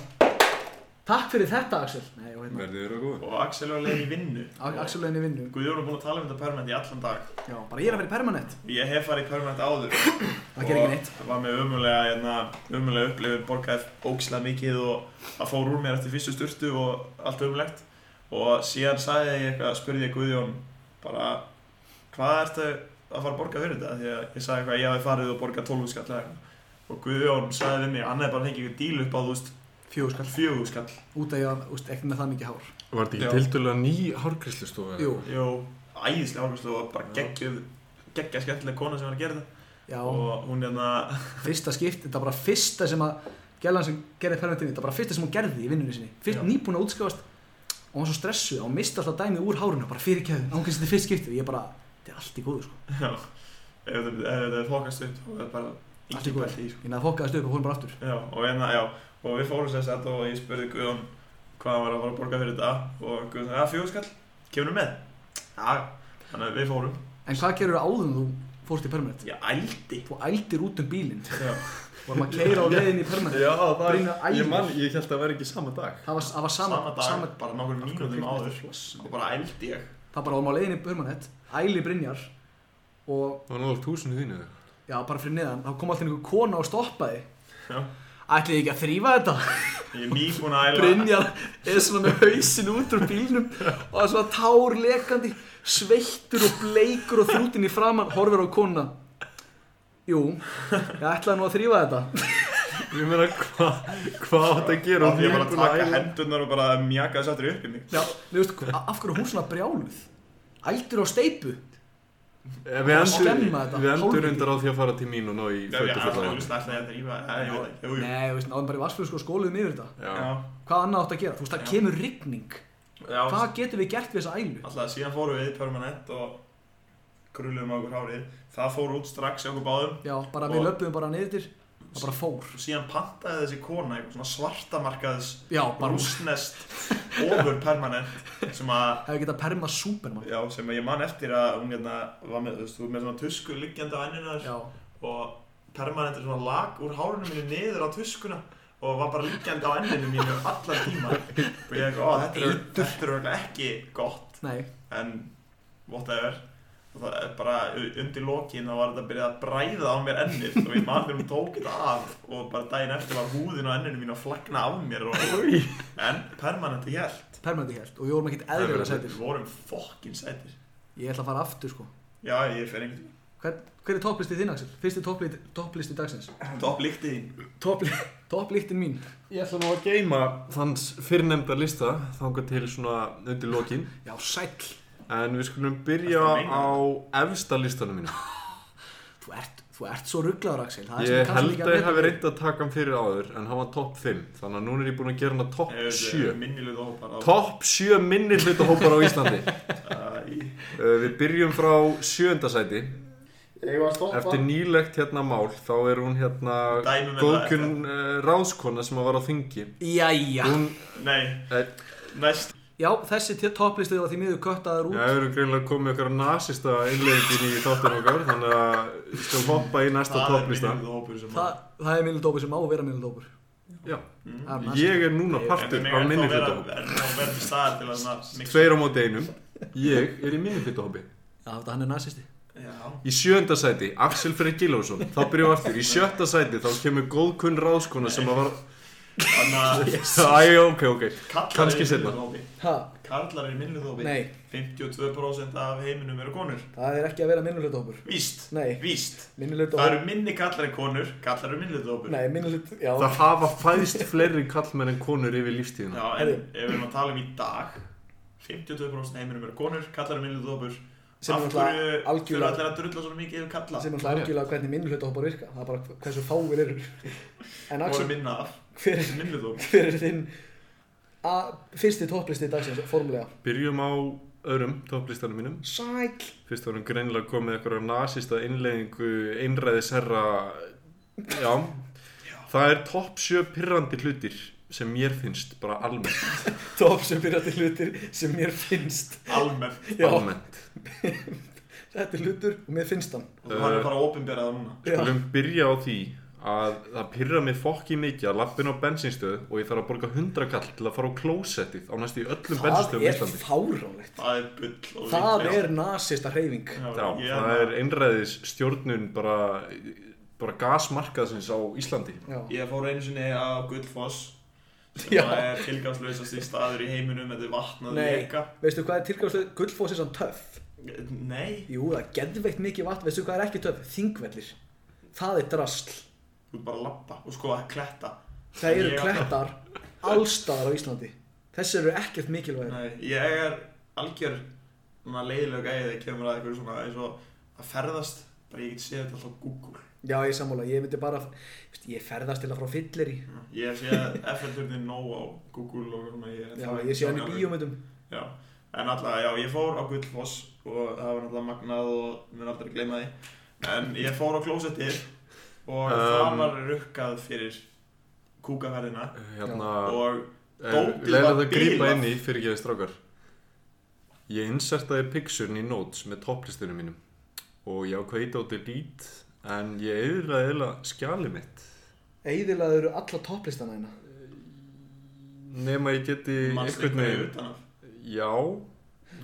B: Takk fyrir þetta, Axel. Nei, og hérna.
D: Verðið eru að góða.
C: og Axel var leið í vinnu
B: A- Axel er henni vinnu.
C: Guðjón er búin að tala um þetta permanent í allan dag
B: Já, bara ég er að vera í permanent.
C: Ég hef farið í permanent áður
B: [coughs] Það gerir ekki neitt.
C: Og var með umulega, hérna, umulega upplifun Borgaði ógislega mikið og það fór úr mér eftir fyrstu sturtu og allt umlegt Og síðan sagði ég eitthvað, spurði ég Guðjón Bara, hvað ertu að fara að borga fyrir þetta? Því að ég sagði eitthvað, ég hafi farið og borgað 12 skall eða eitthvað Og Guðjón sagði við mig, hann hefði bara fengið eitthvað díl upp á, þú veist,
B: Fjögur skall.
C: fjögur skall
B: Út af ég að, úst, ekki með það mikið hár.
D: Var þetta
C: Já.
D: ekki tildulega ný hárgrislustofa?
B: Jú,
C: Jó, æðislega ákvæmstu og bara geggjuð, geggja skemmtilega kona sem var að gera þetta
B: já.
C: Og hún hérna,
B: Fyrsta skipt, þetta var bara fyrsta sem að gælan sem gerði permanentinni, þetta var bara fyrsta sem hún gerði í vinnunni sinni. Fyrst
C: Já.
B: nýbúin að útskjáast og hún var svo stressuð og hún misti alltaf dæmið úr hárinu, bara fyrir keðu. Án hvernig þetta er fyrst skiptið. Ég bara, þetta er allt í góðu, sko.
C: Já, ef þetta- ef þetta er þokast upp þá er það bara
B: Allt í
C: ekki
B: góðu.
C: pælt í sko.
B: Ég næði fokkaðist upp og fórum bara aftur.
C: Já, og hérna, já, og við fórum sér þetta og ég spurði Guðjón hvað hann var að fara að borga fyrir þetta og Guðjón sagði, að fjóðskall, kemur með? Já, þannig að við fórum
B: En hvað gerir áður en þú fórst í permanent?
C: Ég ældi
B: Þú ældir út um bílinn
C: Já,
B: vorum að
C: [laughs]
B: keira á leiðin í permanent
D: Já, það er,
B: Brynjar Ægir.
D: ég mann, ég held að það væri ekki sama dag.
B: það var, það var sama,
C: sama dag,
B: sama
C: bara nokkur mínútum áður
B: floss.
C: og bara ældi ég
B: það bara var maður á leiðinni í Permanent æli Brynjar og
D: Það var náttúrulega túsinu þínu þegar.
B: já, bara fyrir neðan, þá kom alltaf einhver kona og stoppaði
C: Já.
B: ætliði ekki að þrýfa þetta
C: Ég er nýbúin að æla
B: Brynjar er svona með hausin út úr bílnum og er svona tár lekandi sveittur og bleikur og þrútin í framann horfir á kona jú, ég ætlaði nú að þrýfa þetta
D: Ég meina, hvað hva átt að gera?
C: Ég var að taka hendurnar og bara mjaka þess aftur upp í mig
B: já, þú veist, a- af hverju er hún svona brjáluð ældur á steipu
D: Eh, Við endur,
B: skemma þetta,
D: við endur
B: hálfviti.
D: reyndar á því að fara til mín og ná í
C: Já, já, þú
D: fötaföllaðan.
C: veist, ætlaði ég að drífa eh, Ég veit ekki, jú, jú
B: nei, þú veist, náðum bara í vassfjörðu sko skóluðum yfir þetta
D: Já,
C: Já,
B: hvað annað átt að gera, þú veist, það
C: Já.
B: kemur rigning
C: já
B: hvað getum við gert við þessa ælu
C: Alltaf síðan fórum við permanent og grulluðum á okkur hárið Það fór út strax í okkur báðum
B: já, bara við
C: Og-
B: löpum bara niður til það bara fór
C: Síðan pantaði þessi kona eitthvað svona svartamarkaðs
B: já, bara hún
C: rúsnest ofur permanent sem að
B: hefði getað perma Superman
C: Já, sem að ég man eftir að hún hérna var með, þú veist, þú var með svona tusku liggjandi á enninu þar
B: já,
C: og permanentur svona lag úr hárinu mínu niður á tuskuna og var bara liggjandi á enninu mínu allan tíma og ég ekki, ó, þetta er, þetta er örugglega ekki gott
B: nei,
C: en whatever og það er bara u- undir lokin þá var þetta að byrja að bræða á mér ennið og ég man þegar hún tók þetta af og bara daginn eftir var húðin á enninu mín að flagna af mér og, en permanenti hjælt
B: permanenti helt og við vorum ekkert eðlilega
D: Permanent.
B: sætir
C: við vorum fokkin sætir
B: Ég ætla að fara aftur sko
C: já ég fer einhvern
B: Hver, hver er topplistið þinn Axel? Fyrsti topplisti, topplisti dagsins
C: veginn topp líktið þín
B: Toppli, Topplíktin mín
D: Ég ætla nú að geima þanns fyrrnefnda lista þangað til svona undir lokin
B: Já, sæll
D: En við skulum
C: Ertu
D: byrja
C: að meina
D: á efsta listanum mínu
B: Þú ert, þú ert svo rugglaður Axel Það er sem
D: Ég
B: kannski
D: held
B: ekki
D: að ég
B: meta
D: hafi
B: þig.
D: reynd að taka hann fyrir áður En hann var topp 5 Þannig að núna er ég búinn að gera hann að topp 7
C: minnilega hópar á
D: Topp 7 minni hlutahópar á
C: [laughs]
D: Íslandi
C: Æ,
D: Uh, Við byrjum frá sjöunda sæti
C: ég var stoppa
D: Eftir nýlegt hérna mál Þá er hún hérna
C: Dæmi með
D: Góðkun uh, ráðskona sem að var á þingi
B: Jæja
D: Hún
C: nei,
D: Nei.
C: næst
B: Já, þessi t- topplistið var því miður köttaður út
D: Já, við erum greinlega komið okkar nasista innleggin í þáttan okkar Þannig að við skulum hoppa í næsta
C: það er
D: topplista
C: minnilega hópur sem
B: Það, það er minnildópur sem á að vera minnildópur
D: Já,
B: mm.
D: ég er núna
B: Ég-
D: partur af minni hlutahópi
C: er þá verður staðar til að svona mixa.
D: Tveir á móti einum Ég er í minni hlutahópi
B: Já, þetta hann er nazisti
C: já,
D: Í sjöunda sæti, Axel Freyr Gilvason Þá byrjum við aftur Í sjötta sæti, þá kemur góðkunn ráðskona sem að var
C: þannig að
D: Æ, ok, ok
C: karlar
D: Kannski
C: eru í
D: seinna.
C: minnihlutahópi.
B: Ha,
C: karlar eru minnluðópi
B: nei
C: 52% af heiminum eru konur
B: Það er ekki að vera minnildópur
C: víst,
B: Nei,
C: víst það
B: minnildópur
C: eru minni kallar en konur kallar eru minnluðópur
B: Nei, minnildópur Já,
D: Það hafa fæðst fleiri kallmenn en konur yfir lífstíðina
C: já, en ef við erum að tala um í dag 52% heiminum eru konur kallar eru minnluðópur
B: Sem er
C: af
B: náttúrulega
C: hverju
B: algjörlega-
C: þurfa allir að drulla svona mikið um yfir kalla
B: sem er náttúrulega algjörlega hvernig minnildópur virka Það er bara hversu fáir eru En
C: voru
B: Axel,
C: minna af
B: hver er
C: minnluðópur
B: hver er þinn a- fyrsti topplisti dagsins, formulega
D: Byrjum á öðrum topplistanum mínum
B: Sæk
D: Fyrst varum greinlega komið eitthvað nasista innleggingu einræðisherra Já Það er topp sjö pyrrandi hlutir sem mér finnst bara almennt,
B: top sem byrja til hlutir sem mér finnst
C: almennt
B: Já,
D: almennt.
B: þetta er hlutur og mér finnst hann
C: og
D: Eh.
C: hann er bara ofinberað núna
B: Já,
D: Skulum byrja á því að það pyrra mig fokki mikið að lappin á bensinstöð og ég þarf að borga 100 kall til að fara á klósettið á næstu í öllum
B: það
D: bensinstöðum í
B: er
D: Íslandi
B: fáránlegt
C: það er bull og
B: Það
C: vitleisa.
B: er nasista hreyfing
D: Já,
C: ég
D: það er einræðis stjórnun bara, bara gasmarkaðsins á Íslandi
B: Já,
C: Ég fór einu sinni á Gullfoss sem
B: Já.
C: er tilgangslausasti staður í heiminum þetta er vatnað
B: Nei.
C: leka
B: veistu hvað er tilgjáðslega gullfósið sann töff?
C: Nei,
B: Jú, það er geðveikt mikið vatn, veistu hvað er ekki töff? Þingvellir, það er drasl
C: þú ert bara að lappa og sko að kletta
B: Það eru
C: Ég-
B: klettar allstaðar á Íslandi Þess eru ekkert mikilvægir
C: Nei, ég er algjör svona leiðilega gæði þegar kemur að eitthvað svona eins og að ferðast bara ég get séð þetta alltaf á Google
B: Já, ég er sammála, ég myndi bara veist, Ég ferðast til að frá fyllir í
C: Ég sé FL-turnin nóg á Google og svona ég,
B: Já,
C: það er
B: ég sé hann í
C: sjálfur.
B: bíómyndum
C: Já, en alltaf, já, ég fór á Gullfoss og það var náttúrulega magnað og mér aldrei gleyma því En ég fór á klósettið og það
D: Um.
C: var rukkað fyrir kúkaferðina
D: Hérna,
C: Og dótið
D: leiðir
C: var
D: það að grípa
C: bilað.
D: inn í fyrir ekki að strákar Ég insertaði picturein í notes með topplistunum mínum og ég ákveði á delete en ég eðlaði eðla skjali mitt
B: Eðilega eru alla topplistana hérna
D: nema ég geti
C: mannst
D: einhvern
C: einhverju
D: veginn
C: utan af
D: Já,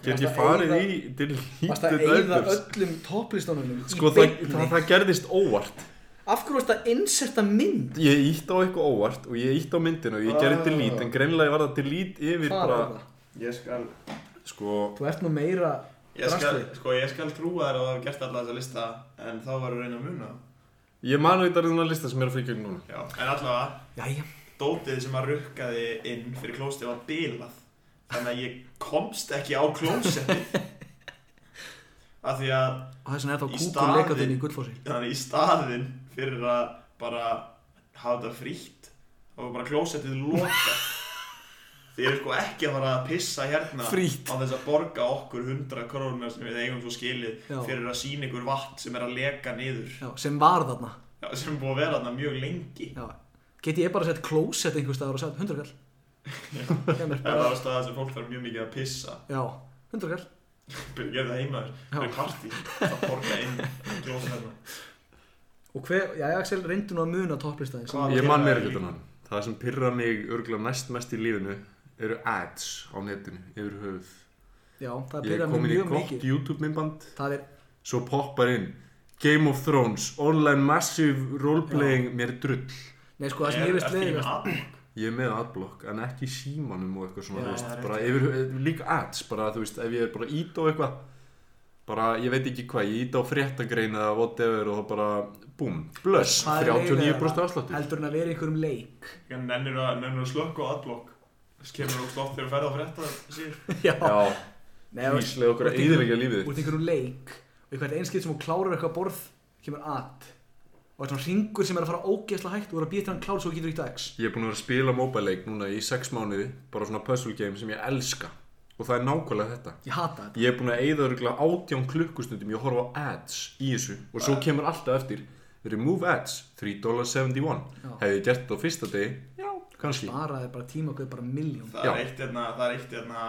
D: Get ég
B: Varstu að
D: farið
B: eyða-
D: í til
B: Varst að
D: lítið
B: eyða
D: öllurs?
B: öllum topplistónunum
D: Sko
B: í
D: það,
B: beinni?
D: það, það gerðist óvart
B: Af hverju varst að inserta mynd?
D: Ég ítt á eitthvað óvart og ég ítt á myndina og ég gerði
B: Ah.
D: delete En greinlega var það delete yfir
B: Hvað
D: bara
B: var það?
C: Ég skal
D: Sko
B: Þú ert nú meira
C: Ég skal,
B: Drasli.
C: sko, ég skal trúa þér að það hafa gert alla þessa lista en þá var að reyna að muna það.
D: Ég man auðvitað þennan lista sem er að fyrir gegn núna
C: Já, en allavega
B: Jæja
C: dótið sem að rukkaði inn fyrir klósið var bilað þannig að ég komst ekki á klósetið af því að
B: Og þess vegna er
C: Í
B: þá kúkur
C: staðinn-
B: leikatinn í gullfósi
C: þannig í staðinn fyrir að bara hafa þetta frítt þá var bara klósettið loka þið eru sko ekki að fara að pissa hérna
B: Frítt.
C: á þess að borga okkur 100 krónur sem við eigum svo skilið
B: Já.
C: fyrir að sína ykkur vatn sem er að leka niður
B: Já, sem var þarna
C: Já, sem er búið að vera þarna mjög lengi
B: Já Get ég bara sett klósett einhvers staðar og sett
C: [laughs]
B: hundragall? Kemur
C: það er
B: bara
C: það staða sem fólk þarf mjög mikið að pissa
B: Já, hundragall
C: byrja gerði það heima þér, byrja partí það borga inn klósið hérna
B: Og hver, já, Axel, reyndu nú að muna topplistaði sem
C: Hvað?
D: Ég man meira hlutan hann Það sem pyrra mig örgulega næst mest í lífinu eru ads á netinu yfir höfuð
B: Já, það
D: Ég
B: byrja
D: er
B: mig
D: komin í
B: mjög
D: gott
B: mikið
D: YouTube myndband
B: Það er,
D: Svo poppar inn Game of Thrones, online massive roleplaying, mér er drull
B: nei sko, það sem ég veist leiðið
D: Ég er með adblock en ekki í símanum og eitthvað svona,
B: Já,
D: þú veist,
C: það er
D: bara yfir, eh, líka ads, bara þú veist, ef ég er bara ít á eitthvað, bara ég veit ekki hvað, ég ít á fréttagreina eða whatever og þá bara, búm, blöss,
B: Það er
D: 39%
B: leiðinlegra
D: afsláttur.
B: heldur en að vera í einhverjum leik
C: nennir að, nennir að slökka á adblock þess kemur þú slott þegar þú ferð á frétta síður
B: Já,
D: Já,
B: Nei, þú veist,
D: víslega okkur að
B: þú ert í einhverjum-
D: eyðilegja lífið
B: Þú
D: þitt.
B: ert í einhverjum leik og í hvert einskið sem hún klárar eitthvað borð kemur at og þetta ringur sem er að fara ógeðslega hægt og þú er að býta hann klár svo þú getur eitt að x
D: Ég er búin að vera að spila mobile-leik núna í 6 mánuði, bara svona puzzle game sem ég elska og það er nákvæmlega þetta.
B: ég hata þetta
D: Ég er búin að eyða örgulega átján klukkustundum Ég horfa á ads í þessu Og svo kemur alltaf eftir Remove ads, $3.71
B: Já.
D: Hefði ég gert það á fyrsta degi? Já, kannski
B: bara er bara tíma og guð bara miljón
C: það
D: Já.
C: er eitt hérna, það er eitt hérna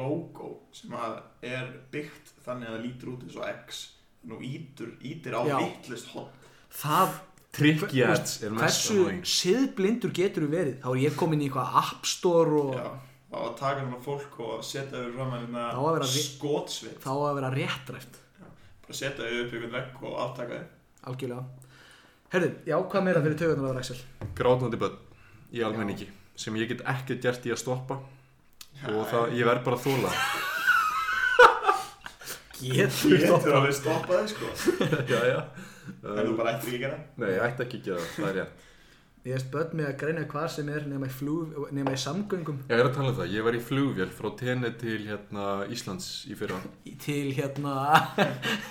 C: logo sem að er byggt þannig að það lítur út eins og X nú ítur, ítir á
B: Já.
C: vittlist hot
B: það
D: Tricky
B: Hver-
D: ads er mest
B: hversu
D: annoying.
B: siðblindur getur þú verið þá er ég komin í eitthvað app store og
C: Já, þá að taka hann á fólk og setja yfir fram
B: Þá að
C: hérna
B: vera ri-
C: skotsvit
B: þá á að vera réttræft
C: bara setja yfir upp ykkur vekk og aftaka þið
B: algjörlega herðu, já hvað meira fyrir tögunar áður Axel
D: Grátandi börn í almenningi Sem ég get ekki gert í að stoppa Og það, ég verð bara að þóla
B: getur þú
C: getur alveg stoppa þið sko
D: [laughs] Já, já
C: en þú bara ættir ekki að gera
D: Nei, ég ætti ekki að gera það, það er rétt
B: ég veist börn með að greina hvað sem er nema í, flug, nema í samgöngum
D: Ég er að tala um það, ég var í flugvél frá Tene til hérna Íslands í fyrra
B: í- til hérna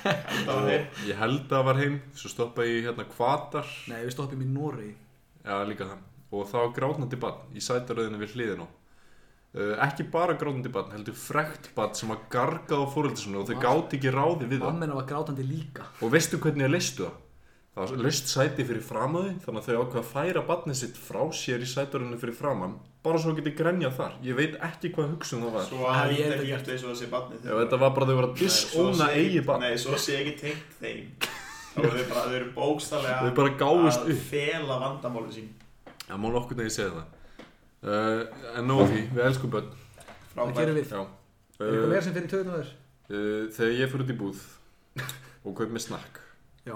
C: það var þið
D: Ég held að var heim, svo stoppaði ég hérna kvatar
B: nei við stoppum í Noregi
D: Já, líka það. Og það var grátnandi barn í sætaröðinu við hliðin á. Uh, ekki bara grátnandi barn, heldur frekt barn sem að gargaði á fóröldisuna og þau
B: Vá.
D: gáti ekki ráði við það.
B: mammen var grátandi líka
D: Og veistu hvernig ég leistu það? Það var leist sæti fyrir framaði, þannig að þau ákveða að færa barnið sitt frá sér í sætaröðinu fyrir framann, bara svo geti grenjað þar. Ég veit ekki hvað hugsun það var.
C: svo að það
B: Ég
C: líti
B: hef
C: ekki
B: þetta
C: eftir eins og það sé barnið
D: Já, þetta var bara þau voru að disóna eigi barn.
C: Nei, svo sé ekki tengt þeim Þá eru þau bara, þau eru bókstallega
D: Þau bara gáfust
C: Að
D: upp.
C: fela vandamáli sín
D: Já, mál okkur þegar ég segi það. Uh, en nóg af því, við elskum börn.
B: það gerum
D: Já.
B: við er eitthvað
D: Uh,
B: meira sem fyrir tögunar áður
D: Uh, þegar ég fyrir út í búð og kaup með snakk
B: já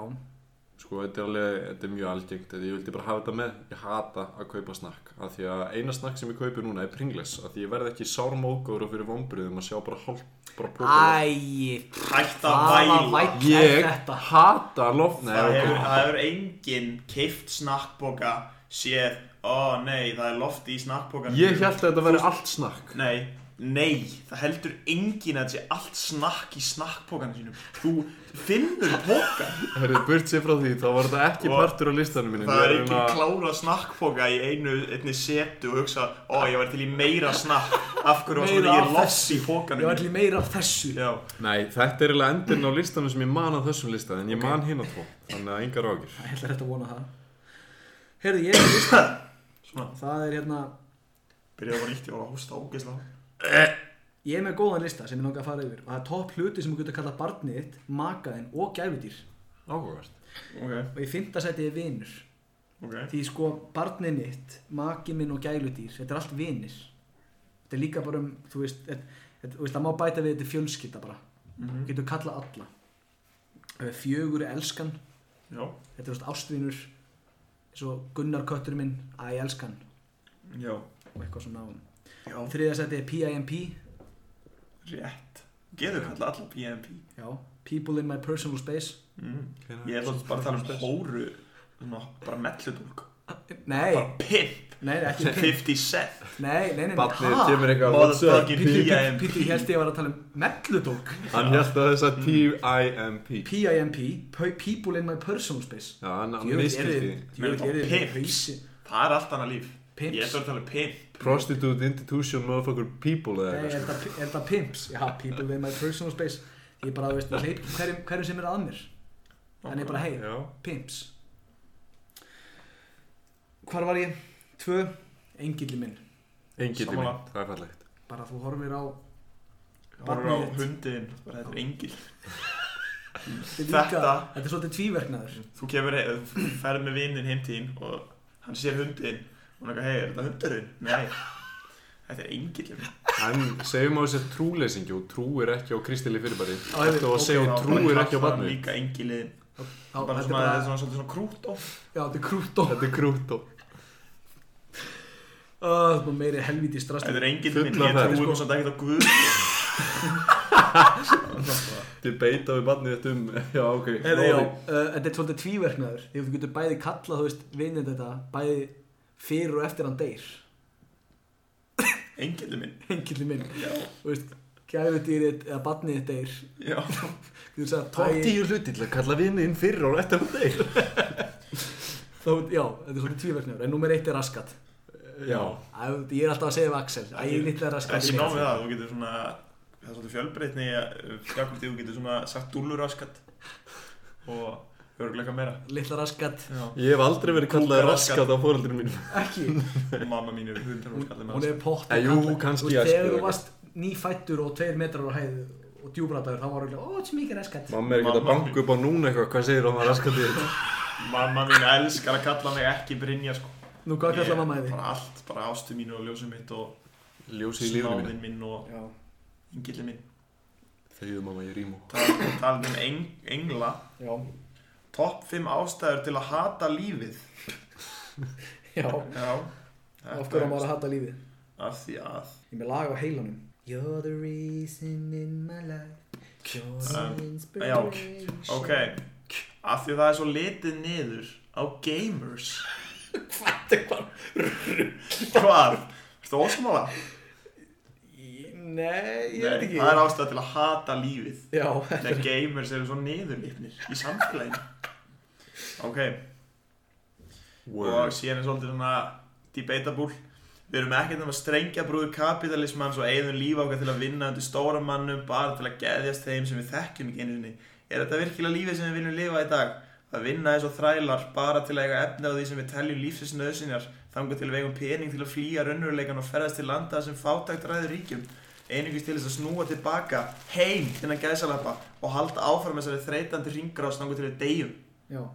D: sko þetta er alveg, þetta er mjög algengt þetta ég vildi bara hafa þetta með, ég hata að kaupa snakk af því að eina snakk sem ég kaupi núna er Pringles, af því ég verð ekki sármókur og fyrir vombriðum að sjá bara hálf bara prófa
B: æj
C: Hætt að
B: það var
C: væla
B: væll er
D: ég
B: þetta
D: hata lof nei,
C: Það
D: ok.
C: hefur, það hefur engin keift snakkboka Séð, ó nei, það er loft í snakkbokan
D: ég held að þetta verði allt snakk
C: Nei, nei, það heldur engin að þetta sé allt snakk í snakkbokan sínum Þú finnur bokan
D: Herri, burt sér frá því, þá var þetta ekki
C: Og-
D: partur á listanum mínum
C: Það er
D: Ég
C: ekki
D: að-
C: klára snakkboka í einu, einni setu og hugsa Ó, ég var til í meira snakk Af hverju var
B: Meira
C: svona
B: af
C: ég loft í bokanum
B: ég var allir meira af þessu
C: Já,
D: Nei, þetta er eiginlega endurinn á listanum sem ég man að þessum listan en ég man hinn að tvo, þannig að engar ágjur
B: ég ætla rétt að vona það heyrðu ég er með lista
C: svona,
B: það er hérna
C: byrjaði bara nýtt, ég var að hósta ógeðslega
B: ég er með góðan lista sem ég langar að fara yfir og það er topp hluti sem þú getur að kalla barnið þitt makaðinn og gæfudýr
D: Áhugavert
C: Ok,
B: og ég finnst að setja ég vinur
C: ok
B: því sko barnið mitt makið minn og gæludýr þetta er allt vinir þetta er líka bara um þú veist þetta þetta Þetta- þú veist, það má bæta við þetta er fjölskylda bara
C: Mhm.
B: getur kallað alla Eh, fjögur er elskan
C: Já,
B: þetta er þú veist, ástvinur eins og Gunnar köttur minn að ég elskan
C: já,
B: og eitthvað svona
C: já,
B: þriðja seti er PIMP
C: rétt. Getur kallað alla PMP.
B: já. people in my personal space
C: Mm. Ég er alltaf bara að tala um hóru, svona bara melludúlk.
B: nei,
C: Bara pimp,
B: nei, ekki pimp.
C: 50 cent,
B: nei, nei, nei, nei,
D: Barnið
B: ha?
D: kemur eitthvað
C: motherfucking
B: Pítur, Pítur,
C: PMP.
B: Pítur, ég held ég var að tala um melludók
D: Hann held að þess að T-I-M-P
B: PIMP, Pe- People in my personal space
D: Já, hann hann
B: Djöfull,
D: miskildi
B: eruð-
D: því.
B: djöfull,
C: Menn,
B: eruð
C: bara
B: þið
C: pimps.
B: hausin-
C: Það er allt annað líf. Ég er
B: Pimps
C: alltaf að tala um pimp.
D: Prostitute, institution, motherfucker, people eða
B: Nei,
D: eitthvað
B: er
D: sko.
B: það- er það pimps? Já, people in my personal space Ég bara, þú veist, ég hleyp hverjum, hverjum sem er að mér En ég bara, hei,
D: Já,
B: pimps Hvar var ég? Tvö, engilli minn
D: enginn í
C: Sammála.
D: mynd, það er fallegt
B: Bara þú horfir á
C: Hóru á
B: Barnið þitt.
C: hundin, bara þetta er engil.
B: Þetta, er líka,
C: Þetta-
B: þetta er svolítið tvíverknaður
C: Þú kemur, heim- þú ferð með vinnin heim til þín og hann sér hundin. Og hann er eitthvað, hei, er þetta hundurinn? Nei, þetta er engil.
D: En segjum á þess að trúleysingi og trúir ekki á kristili fyrirbæri
B: Á, ég veit,
D: Þetta var að segja
B: ok,
D: og trúir ekki á barni
C: Líka engilin.
B: Þá,
C: Bara
B: þetta er
C: svona, þetta er
B: bara,
C: svona, svolítið svona krútt of.
B: já, þetta er krútt og
D: Þetta er krútt og
B: Það er bara meiri helvíti strast
C: Þetta er enginn minn,
D: Fulla
C: ég
D: ferð. sko.
C: trúi svona ekkert á Guð
D: Þið beita við barnið þetta um Já, ok
B: Eða, já, uh, þetta er svolítið tvíverknaður því að þú getur bæði kallað, þú veist, vinnið þetta bæði fyrir og eftir hann deyr [laughs]
C: Enginn minn
B: engilli minn,
C: Já,
B: þú veist gæfudýrið eða barnið þitt deyr
C: já
B: þú veist
D: Top
B: að tæ,
D: tíu hluti til að kalla vinnin fyrir og eftir á þeir
B: þá, já, þetta er svolítið tvíverknaður en nummer eitt er raskat
D: Já
B: Æ, ég er alltaf að segja við Axel, æ, ég er litla raskat
C: Ekki nóg við það, þú getur svona Það er svolítið fjölbreytni Jakob, þú getur svona sagt dúlluraskat Og örguleika meira
B: litla raskat,
C: Já
D: Ég hef aldrei verið kallað
C: Kúka
D: raskat á fóröldinu mínu
B: ekki
C: Og mamma mín er hundar og skallir með
B: hún er pott
D: Eh, jú, kannski
B: þegar
D: Axel,
B: þú
D: ok.
B: varst nýfættur og tveir metrar á hæð og djúbrataður, þá var hún ó, þetta er mikið raskat
D: Mamma er ekki að
C: Mamma-
D: banka upp á núna eitthvað Hvað segir hún að raskatið þetta?
C: Mamma mín elskar að kalla mig ekki Brynja sko
B: nú, hvað
C: Ég-
B: kallar mamma þið?
C: Bara allt, bara ástu mín og ljósum mitt og
D: Ljósi í lífinu mínu
C: snáðinn minn og
B: Já.
C: engillin minn
D: Þegiðu mamma, ég rýmu
C: Talin um eng, engla
B: Já.
C: Topp 5 ástæður til að hata lífið
B: Já.
C: Já
B: af hverju á maður að hata lífið
C: Af því að
B: Ég er með lag á heilanum You're the reason in my life You're
C: Um,
B: the
C: já, ok.
B: inspiration
C: Ok, af því að það er svo litið niður á gamers Hvað? Ertu um ósamála?
B: Í- Nei, ég veit ekki
C: það er ástæða til að hata lífið
B: Já,
C: Þegar gamers eru svo niðurnýfnir í samfélaginu Ok, og síðan er svolítið svona debatable Við erum ekkert um að strengja brúður kapitalismans og eigðum líf okkar til að vinna undir stóra mannum bara til að geðjast þeim sem við þekkjum ekki einu sinni. Er þetta virkilega lífið sem við viljum lifa í dag? Að vinna eins og þrælar bara til að eiga efni á því sem við teljum lífsins nöðsynjar þangar til að vegum pening til að flýja raunveruleikan og ferðast til landa sem fátækt ræður ríkjum einungis til þess að snúa tilbaka heim innan gæsalappa og halda áfram þessari þreytandi ringrás þangar til við deyjum.
B: já.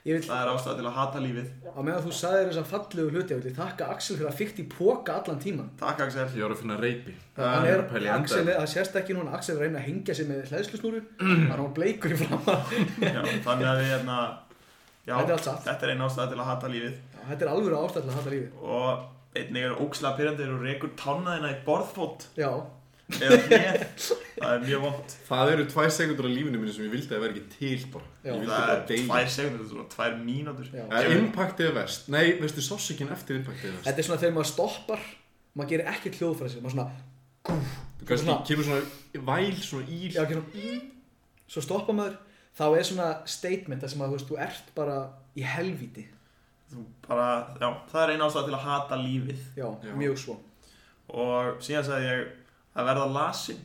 B: Ég vil,
C: Það er ástæða til að hata lífið.
B: á meðan þú sagðir þess að fallegu hluti Ég vil þakka Axel fyrir að fykta í póka allan tíman
C: Takk Axel.
D: Ég var að finna reypi
B: Hann
D: er
B: er,
D: að pæla í enda.
B: Axel, er- það sést ekki núna Axel er að reyna að hengja sig með hlæðslusnúru Það er hann bleikur í framar
C: Já, þannig að við hérna já,
B: Þetta er allt satt.
C: þetta er einn ástæða til að hata lífið
B: Þetta er alveg ástæð til að hata lífið
C: og einnig er ókslega pyrrandir og rekur tánaðina í borðfót
B: Já,
C: eða hnéð, það er mjög vond
D: Það eru tvær sekundur á lífinu mínu sem ég vildi að vera ekki til bara
B: Já.
D: Ég vildi
C: það
D: bara
C: er
D: deyja
C: tvær segundir, þetta er svona tvær mínútur
B: Já.
D: Það er impactið er verst Nei, veistu, sásökin eftir impactið er verst
B: þetta er svona þegar maður stoppar Maður gerir ekki hljóðfræsir Maður svona,
D: Þú kannski
B: svona-
D: kemur svona væl, svona íl
B: já, ekki svona í, Svo stoppar maður Þá er svona statement þar sem að þú veist, þú ert bara í helvíti
C: Þú bara, já, það er einn ástæða til að hata lífið
B: Já,
D: Já.
B: mjög svo
C: og síðan sagði ég að verða lasin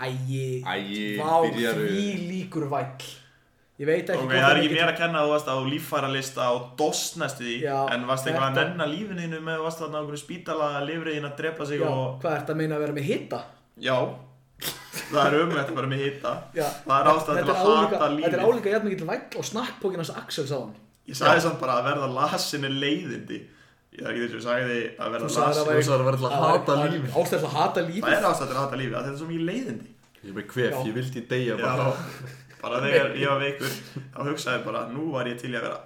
B: Æi,
D: Æi,
B: vá,
D: byrjaðu.
B: því líkur væll Ég veit ekki
C: ok,
B: hvort
C: það er
B: hann
C: ekki mér að kenna að þú varst á líffæralista og dosnast í því
B: Já,
C: en varst eitthvað að
B: þetta-
C: nenna lífinu þínu með þú varst þarna á einhverju spítala að lifriðin að drepa sig
B: Já,
C: og
B: hvað ertu að meina að vera með hitta?
C: já, það er umrætt að vera með hita
B: Já,
C: Það er ástæða til að
B: þetta er álíka-
C: hata
B: Þetta er
C: lífið
B: álíka jafn mikið væll og snakkpókin hans Axel sá hann
C: Ég sagði samt bara að verða lasin er leiðindi Ég það ekki þess að ég sagði að verða
B: Þú sagðir að
C: lasin.
B: væri-
D: Þú sagðir að verða til að hata
B: Það er-
D: lífið.
B: Ástæða til að hata lífið
C: Það er ástætt að hata lífið, að þetta er svo mikið leiðindi.
D: Ég er bara kvef, ég vildi deyja bara.
C: Já, bara þegar ég var veikur, þá hugsaði ég bara, nú var ég til í að vera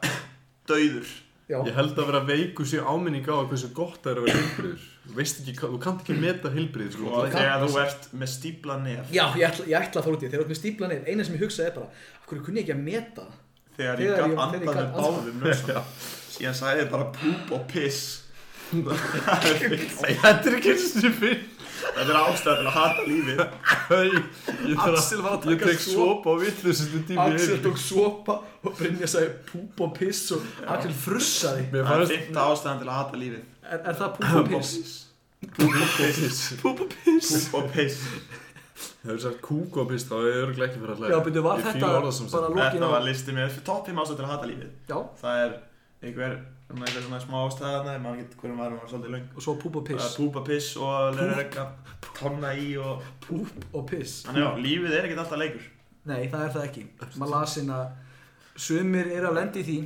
C: dauður.
B: Já,
D: Ég held að vera veiku sér áminning á að hversu gott það er að vera heilbriður. Þú veist ekki, hvað- þú kannt ekki meta heilbrið, sko.
C: Og
D: Þú-
C: þegar þú ert með stípla nef,
B: Já, ég ætla, ég ætla að fara út í það. Þegar þú ert með stípla nefn, eina sem ég hugsaði er bara, af hverju kunni ég ekki að meta það?
C: þegar
B: Þegar
C: ég
B: ég-
C: gaf
B: þegar ég
C: andað með
B: gat andað.
C: báðum nösum, síðan sagði ég bara púp og piss.
B: [laughs]
C: Það er fyrst.
D: Nei, Þetta er ekki eins og þessi fyrir.
C: Þetta er ástætt að hata lífið.
D: Ég þarf
B: Axel var að
D: Ég
B: taka
D: tek
B: sopa.
D: svopa á vittlustu tími í
B: Axel
D: heimi.
B: tók sopa og Brynja sagði púp og piss og Axel frussaði.
C: Það
D: Mér
C: er
D: fannst
C: fyrsta ástæðan til að hata lífið.
B: Er, er það púp og piss?
D: Púpa piss.
C: Púp og
B: [laughs]
C: piss.
D: Það er sagt kúk og piss, þá er ég örgulega ekki fyrir að hlæða.
B: Já, byrju, var
D: Ég fíla
B: þetta
D: orðasambandið.
B: bara lokin
C: Þetta
B: á?
C: var listið mér fyrir topp 5 ástæðan til að hata lífið.
B: Já,
C: það er einhver, svona einhver svona smá ástæðana ég maður getur hverjum varum var svolítið löng
B: og svo púp og
C: Það er
B: piss.
C: púpa piss og lereka tanna í og
B: Púp og piss.
C: þannig já, lífið er ekkert alltaf leikur
B: Nei, það er það ekki. Maður lasin að sumir eru að lendi því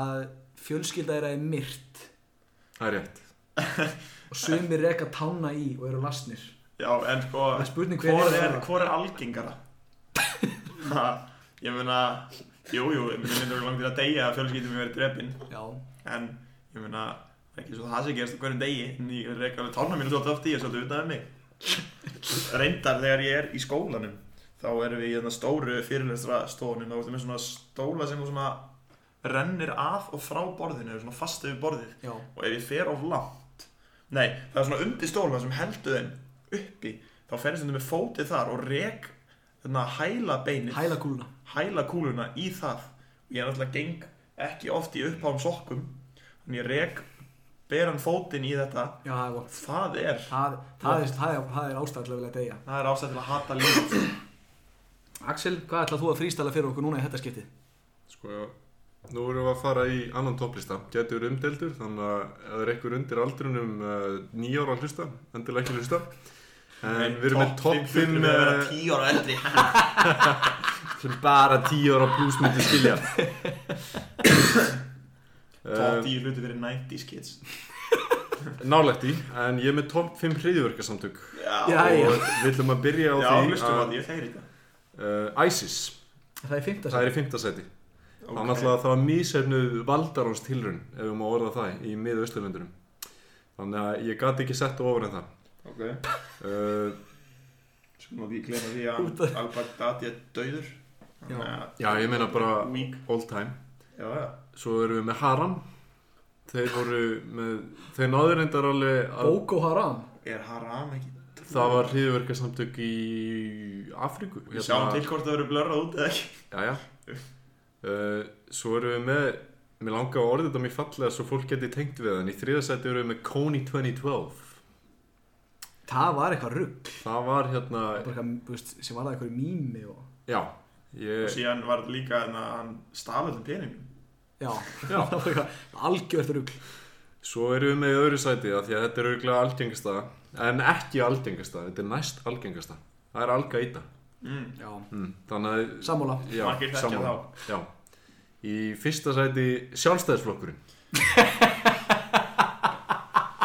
B: að fjölskylda þeirra er myrt
D: Það er rétt.
B: og sumir reka tána í og eru lasnir.
C: já, en sko,
B: Það er spurning hver
C: hvor
B: er
C: er,
B: það?
C: hvor er
B: [laughs]
C: algengara? ha, ég meina jú, jú, ég meina myndur langt til að deyja að fjölskyldum ég verið drefin
B: Já,
C: en ég meina, það er ekki svo það sem gerist á hverjum degi, en ég reka alveg tanna mínu svolítið oft í og svolítið utan af mig reyndar þegar ég er í skólanum þá erum við í þarna stóru fyrirlestra stofunum, þá ertu með svona stóla sem þú svona rennir að og frá borðinu, eru svona fast yfir borðið
B: já.
C: og ef ég fer of langt nei, það er svona undir stóla sem heldur þeim uppi, þá fer ég stundum með fótið þar og rek þarna hæla beinið,
B: Hæla kúluna.
C: hæla kúluna í það og ég er náttúrulega geng ekki oft í uppháum sokkum en ég rek beran fótinn í þetta
B: Já, það er vont.
C: það er,
B: Það, það, er, það, er, það er ástæðilega vel að deyja.
C: það er ástæð til að hata lífið
B: Axel, hvað ætlað þú að frístæla fyrir okkur núna í þetta skiptið?
D: Sko, nú erum við að fara í annan topplista. Getur umdeldur, þannig að ef það er einhver undir aldrunum uh, nýjára að hlusta, endilega ekki hlusta. En við erum með eh, topp 5
C: við erum að vera 10 ára eldri
D: sem bara 10 ára pluss myndi
C: [coughs]
D: skilja.
C: top
D: Eh,
C: 10 hluti verið 90s kids
D: Nálægt í, en ég er með topp 5 hriðjverkasamtök.
C: já,
B: Já, já.
D: Og við ætlum að byrja á
C: já,
D: því
C: hlustum að ég þeir þetta
D: uh, ISIS,
B: Það er fymta
D: það er í 5. seti. Það er náttúrulega það var mísefnuð valdaráns tilrun ef við má orða það í miða Östurlöndunum þannig að ég gat ekki sett ofar en það
C: ok,
D: uh,
C: skulum að ég glemma því
B: Út
C: að
B: af-
C: Al-Baghdadi er dauður Þannig að-
D: Já, ég meina bara-
C: Weak.
D: all time
C: já, já.
D: svo erum við með Haram þeir voru með þeir náður reyndar alveg að
B: Boko Haram.
C: er haram ekki
D: það var hriðverkasamtök í Afríku Hérna-
C: við sjáum til hvort það verður blörrað út eða ekki
D: já, Uh, svo erum við með mér langar að orða þetta mér fallega svo fólk geti tengt við þann í þriðasæti erum við með Kony 2012
B: Það var eitthvað rugg.
D: það var hérna
B: Bara eitthvað, þú veist, sem var það eitthvað mými og...
D: já ég,
C: og síðan var þetta líka en að hann stala allir peningum
B: Já, [laughs] það var eitthvað algjört rugg.
D: Svo erum við með í öðru sæti af því að þetta er auðvitað algengasta en ekki algengasta, þetta er næst algengasta það er Al-Qaida
C: mm.
B: Já.
D: mm. þannig að
B: Sammála.
D: já,
C: Margir þekkja
D: sammála. já. í fyrsta sæti
C: [laughs]
D: sjálfstæðisflokkurinn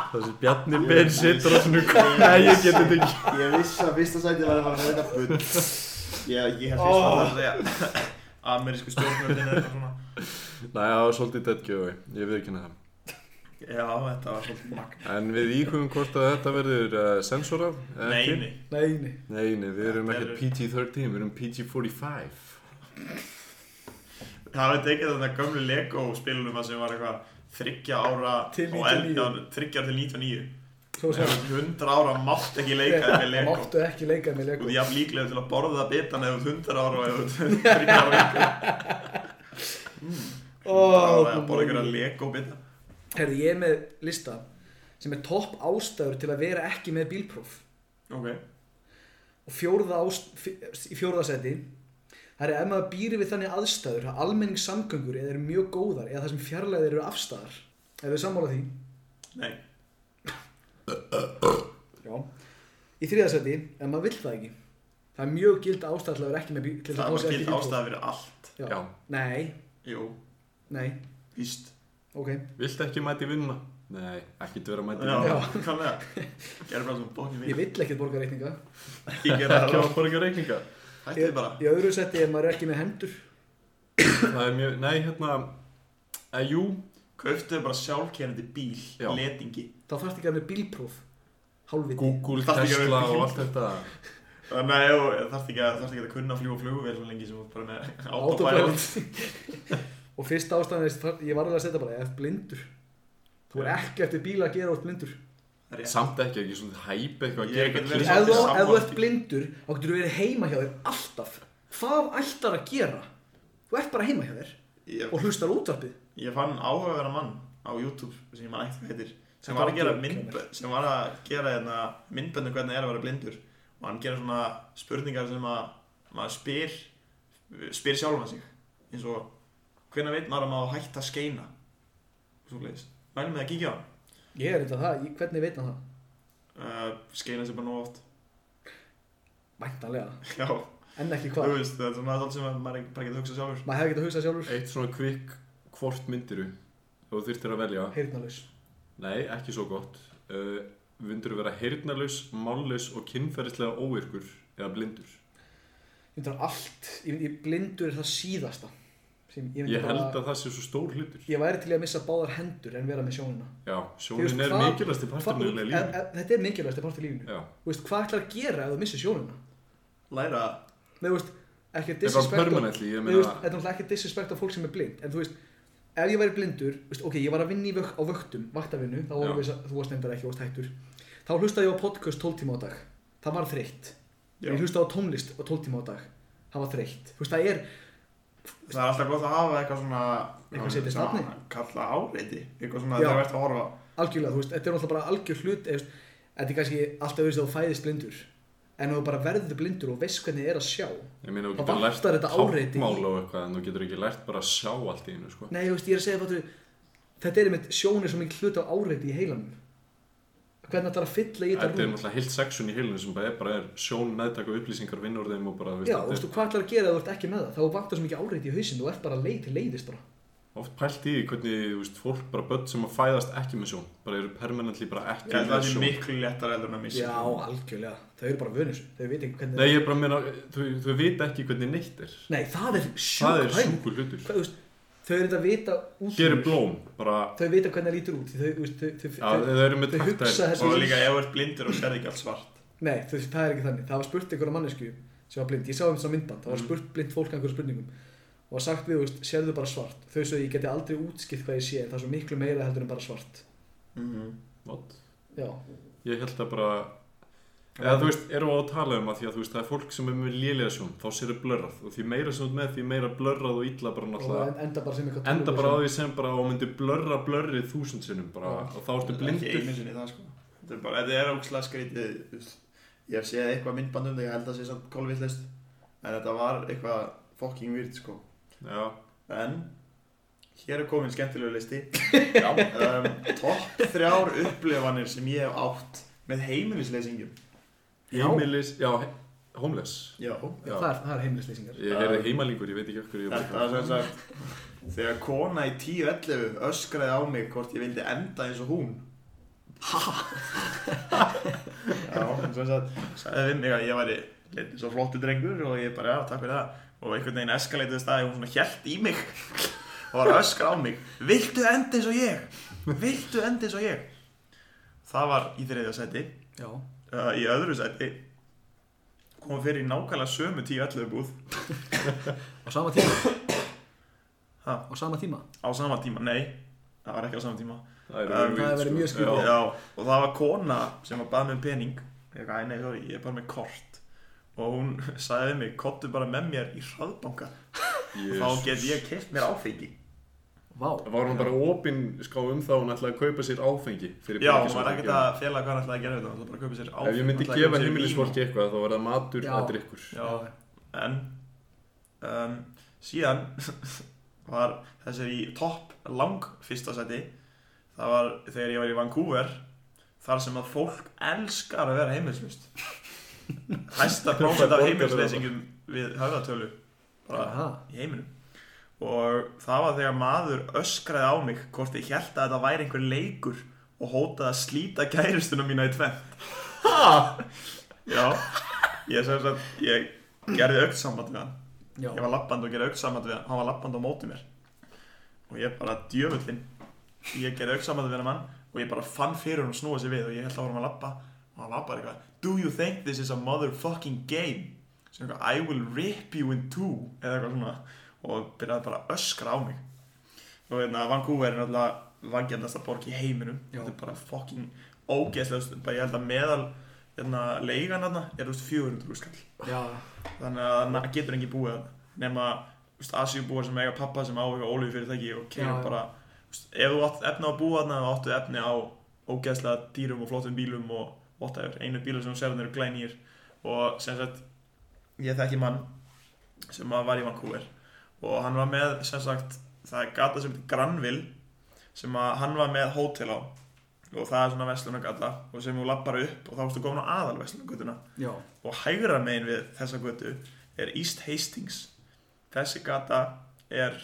D: þessi Bjarni Ben sittur á svona nei, ég geti þetta ekki
C: Ég vissi að fyrsta sætið var að fara að þetta bull Ég, ég held fyrst að það að segja Amerísku stjórnvöldin eða eitthvað svona
D: Nei, það var svolítið dead giveaway, ég við ekki það
C: Já, þetta var svolítið magna
D: En við íkvöfum hvort að þetta verður uh, sensorað eða
C: Nei,
D: ekki.
C: nei,
B: Nei, nei.
D: Nei, nei, við erum
C: Þetta
D: ekkert PG-13, við erum PG-45
C: það var tekið þannig að gömlu Lego spilunum að sem var eitthvað þryggja ára
B: Til
C: og
B: 99.
C: endan þryggja til 99
B: Svo sem...
C: Hundra ára mátt ekki leika þér með
B: Það
C: Lego
B: máttu ekki leika með
C: og
B: Lego.
C: því jafn líklega til að borða bitan ef þú hundra ára og
B: [laughs]
C: ef þú þryggja ára eitthvað
B: Mm. Ó, mm.
C: að
B: guð
C: borða
B: minn.
C: einhverja Lego bita
B: Herðu, ég er með lista sem er topp ástæður til að vera ekki með bílpróf.
C: Ok,
B: Og fjórða ást... fj- Í fjórða seti, það er ef maður býri við þannig aðstæður að almenningssamgöngur eða eru mjög góðar eða það sem fjarlæðir eru afstæðar. Ef við sammála því.
C: nei,
B: Já. Í þriðasæti, en maður vill það ekki. Það er mjög gild ástæða til að vera ekki með bíl. til
C: það
B: að fá
C: var
B: sér
C: gild
B: ekki bílpróf.
C: ástæða fyrir allt
B: Já.
D: Já.
B: Nei,
C: Jú,
B: nei,
C: víst
B: ok.
D: Vilt ekki mæti vinna Nei, ekki dvera mæti
C: Já,
B: Já.
C: kannlega Gerðu bara svona bókin
B: Ég
C: við
B: vill ekkert borga reikninga
C: Ekki gera
D: Ekki
C: það
D: að borga reikninga
C: Hætti
B: Í
C: þið bara
B: í öðru setti ef maður er ekki með hendur
D: Það er mjög, nei hérna eh, Jú,
C: Kauftuðu bara sjálfkerandi bíl
D: Já.
C: Letingi
B: þá þarfst ekki að vera með bílpróf Hálfviti
D: Google,
C: Þarftu ekki að
D: Tesla
C: vera
D: og
C: bíl.
D: allt þetta
C: Þannig að þarfst ekki að þarfst ekki að kunna að fljúa flugvél Svo lengi sem þú ert bara með autopilot
B: Autopilot [laughs] Og fyrsta ástæðan er þar- ég var alveg að setja bara ef blindur Þú er ekki eftir bíla að gera út blindur
C: Rétt.
D: Samt ekki ekki svona hæp eitthvað að
C: Ég
D: gera
C: get
D: eitthvað
C: verið
D: klíma.
B: Ef þú
C: svolítið
B: ef þú
C: sammála
B: ert
C: því.
B: blindur þá getur þú verið heima hjá þér alltaf Hvað ætlar að gera? Þú ert bara heima hjá þér
C: Ég-
B: og hlustar á útvarpið
C: Ég fann áhugaverðan mann á YouTube sem ég man ekki hvað heitir sem var að gera myndbönd sem var að gera hérna, myndböndu hvernig er að vera blindur og hann gera svona spurningar sem að maður spyr spyr sjálfan sig eins og hvenær veit maður að maður á að hætta að skeina og svo leiðis mælum við að kíkja á hann
B: Ég er þetta það, ég, hvernig veit hann það?
C: uh, skeina sér bara nóg oft [laughs]
B: Væntanlega,
C: já,
B: en ekki
C: þú
B: hvað
C: veist, það er svona allt sem að maður bara getur hugsað sjálfur
B: Maður hefði getað hugsað sjálfur,
D: Eitt svona kvikk hvort myndiru þú þurftir að velja
B: heyrnalaus
D: Nei, ekki svo gott uh, Vindur vera heyrnalaus, mállaus og kynferðislega óvirkur eða blindur
B: Ég myndi að allt, ég, ég blindur er það síðasta sem ég myndi
D: Ég held að það sé svo stór hlutur
B: Ég væri til í að missa báðar hendur en vera með sjónina
D: Já, sjónin
B: Þú veist,
D: er
B: hvað-
D: mikilvægst í
B: Hvað-
D: parturnulega
B: e-
D: lífi
B: e- Þetta er mikilvægast að part í lífinu
D: Já,
B: Þú veist, hvað ætlar að gera ef þú missir sjónina?
C: læra
B: Nei, þú veist, ekki að
D: þetta var
B: disrespekta Nei,
D: permanently, ég
B: þú
D: meina
B: veist, þetta er náttúrulega ekki að disrespekta fólk sem er blind En þú veist, ef ég væri blindur þú veist, Ok, ég var að vinna í vök, á vöktum, vaktavinnu Þá
D: Já.
B: voru við að þú varst nefndar ekki, þú varst hættur Þá hlustaði ég á podcast 12 tíma á dag Það var þreytt
C: Já.
B: Ég hlustaði á tónlist á 12 tíma á dag Það var þreytt Þú veist, það er,
C: það er alltaf gott að hafa eitthvað svona
B: Eitthvað setið
C: svona-
B: stafni.
C: kalla áreiti eitthvað svona
B: Já.
C: þegar þú ert að horfa
B: algjörlega, þú veist, þetta er náttúrulega bara algjör hlut eða, þú veist, þetta er kannski alltaf auðvitað að þú fæðist blindur en ef þú bara verður blindur og veist hvernig þið er að sjá nei,
D: Ég meina, þú
B: það
D: getur lært
B: vantar þetta áreiti í.
D: tákmál og eitthvað en þú getur ekki lært bara að sjá allt í einu sko.
B: þú veist, ég er að segja fattur, þetta er einmitt sjónir sem mikið hlut á áreiti í heilanum hvernig þetta er að fylla
D: Þetta
B: í
D: er
B: þetta rúm
D: náttúrulega heilt sexun í heilinu sem bara er, bara er sjón, meðtak og upplýsingar vinnurðum og bara, þú
B: já,
D: þetta
B: þú
D: er-
B: veist, og hvað ætlar að gera ef þú ert ekki með það þá vantar svo mikið áreiti í hausinn, þú ert bara leið til leiðistra
D: oft pælt í því hvernig þú veist, fólk bara börn sem að fæðast ekki með sjón bara eru permanently bara ekki
C: ég held að
D: með
C: það sé
D: sjón
C: miklu lettar heldur en að missa
B: já, algjörlega, þau eru bara vönus þau veit ekki
D: Nei,
B: hvernig
D: ég er bara að meina, þau, þau vita ekki hvernig neitt er
B: nei, það er
D: það er
B: sjúk pæling.
D: sjúkur hlutur
B: Hvað, þú veist, þau eru þetta að vita út
D: hér er blóm, bara
B: þau vita hvernig það lítur út því þau, þú veist, þau, þau,
D: Já, þau eru með
B: þau
D: taktæl-
B: hugsa þetta
C: Og líka ef þú ert blindur og serði ekki allt svart
B: Nei, þú veist, það er ekki þannig. Það var spurt einhverja mannesku sem var blind. Ég sá um þess að myndband.
D: Mm.
B: Það var spurt blind fólk einhverjum spurningum. Og var sagt við, þú veist, sérðu bara svart. Þau sögðu, ég geti aldrei útskipt hvað ég sé, en það er svo miklu meira heldur en bara svart.
D: what?
B: Já.
D: ég held að bara eða þú veist, erum við á að tala um að því að þú veist, það er fólk sem er með lélega sjón þá sér er blörrað og því meira sem þú ert með því meira blörrað og illa bara
B: Og
D: náttúrulega
B: en- enda bara sem eitthvað
D: enda bara á því sem bara og myndi blörra blörrið þúsund sinnum bara og þá ertu
C: Ekki
D: blindur
C: einu sinni það sko Þetta er bara, þetta er ógslag skrítið þú veist. Ég hef séð eitthvað myndband um þetta, ég held að það sé samt kólvillist En þetta var eitthvað fucking weird sko
D: Já,
C: En Hér er komin skemmtilegu listi um, Topp þrjár upplifanir sem ég hef átt Með heimilislesingum
B: Já.
D: heimilis, já, he- homeless
C: Já
B: Já, það er, það er heimilisleysingar.
D: Ég heyrði heimalingur, ég veit ekki um okkur ég var
C: Þetta er sem sagt Þegar kona í 10.11 öskraði á mig hvort ég vildi enda eins og hún Já, sem sagt Sæði við mig að ég væri leit svo flottu drengur og ég bara, já, takk fyrir það og einhvern veginn eskaleitiði staði hún svona hjælt í mig [laughs] og var að öskra á mig Viltu enda eins og ég? Viltu enda eins og ég? Það var í þriðja seti
B: Já.
C: uh, í öðru seti kom fyrir í nákvæmlega sömu 10.11 búð
B: Á sama tíma. [coughs]
C: Ha?
B: Á sama tíma.
C: á sama tíma, nei það var ekki á sama tíma
D: Það
C: Um,
D: er
B: það verið mjög
D: sko.
B: skrítið.
D: Já.
C: Já, og það var kona sem var bað með pening ég eitthvað, "Æ, nei, sorry, ég er bara með kort og hún [laughs] sagði við mig, kottu bara með mér í hraðbanka
D: Jesús.
C: þá get ég keft mér áfengi
B: Vá.
D: Var hún bara opinská um það að hún ætlaði að kaupa sér áfengi fyrir
C: Já,
D: peningi
C: hún var
D: sem hún
C: ekkert
D: gera?
C: að fela hvað hann ætlaði að gera þetta, hann ætlaði bara að kaupa sér áfengi
D: Ef ég
C: hann
D: myndi
C: ætlaði að
D: gefa
C: kaupa sér
D: heimilisfólki eitthvað þá var það matur
B: Já.
D: að drikkur
C: vín. Já, en um, síðan [laughs] var þessir í topp lang fyrsta seti það var þegar ég var í Vancouver þar sem að fólk elskar að vera heimilislust hæsta prófið af heimilislesingum við höfðatölu bara
B: Aha.
C: í heiminum og það var þegar maður öskraði á mig hvort ég held að þetta væri einhver leikur og hótaði að slíta kæristuna mína í tvent já ég sem sagt ég gerði aukt samband við hann
B: Já.
C: ég var lappand og gerði aukt samband við hann hann var lappand á móti mér og ég bara djöfullin ég gerði aukt samband við hann mann og ég bara fann fyrir hann og snúa sér við og ég held að vorum að lappa og hann lappar eitthvað do you think this is a motherfucking game sem eitthvað I will rip you in two eða eitthvað svona og byrjaði bara að öskra á mig og hérna Vancouver er náttúrulega vangjandasta borg í heiminum
B: Já.
C: þetta er bara fucking ógeðslega þú veist, bara ég held að meðal hérna, leigan hérna er þú veist 400 úrskall
B: Já,
C: þannig að na- getur engin búið þarna nema þú veist, asjubúar sem eiga pappa sem á eitthvað ólífi fyrirtæki og
B: Já,
C: kemur
B: já.
C: bara þú veist, ef þú átt efni á að búa þarna þá áttu efni á ógeðslega dýrum og flottum bílum og whatever, einu bílum sem þú sér þarna eru glænýr og sem sagt ég þekki mann sem að var í Vancouver og hann var með sem sagt, það er gata sem heitir Granville sem að hann var með hótel á og það er svona verslunagata og sem þú lappar upp og þá ertu komin á aðalverslunagutuna
B: já,
C: og hægra megin við þessa götu er East Hastings þessi gata er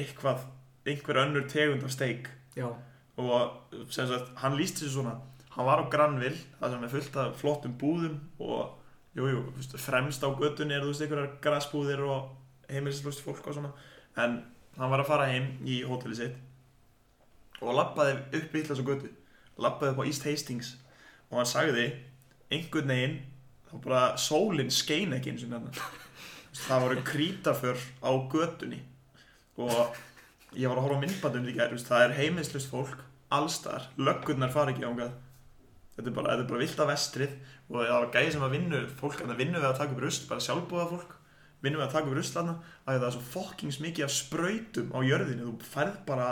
C: eitthvað, einhver önnur tegund af steik
B: já,
C: og sem sagt, hann lísti þessu svona hann var á Granville, það sem er fullt af flottum búðum og jú, jú, þú veist, fremst á göttunni er þú veist einhverjar grassbúðir og heimilislust fólk og svona en hann var að fara heim í hóteli sitt og lappaði upp í þessu göttu lappaði upp á East Hastings og hann sagði einhvern veginn þá bara sólinn skein ekki eins og nefna það voru krítaför á göttunni og ég var að horfa á myndbandum því gæri, það er heimilislust fólk allstar, löggurnar fara ekki ángað þetta er bara, þetta er bara vilt af vestrið og það var gæði sem að vinnu fólk að vinnu við að taka upp rusl, bara sjálfbúða fólk vinnu við að taka upp rusl hana að það er svo fokkings mikið af sprautum á jörðinu þú færð bara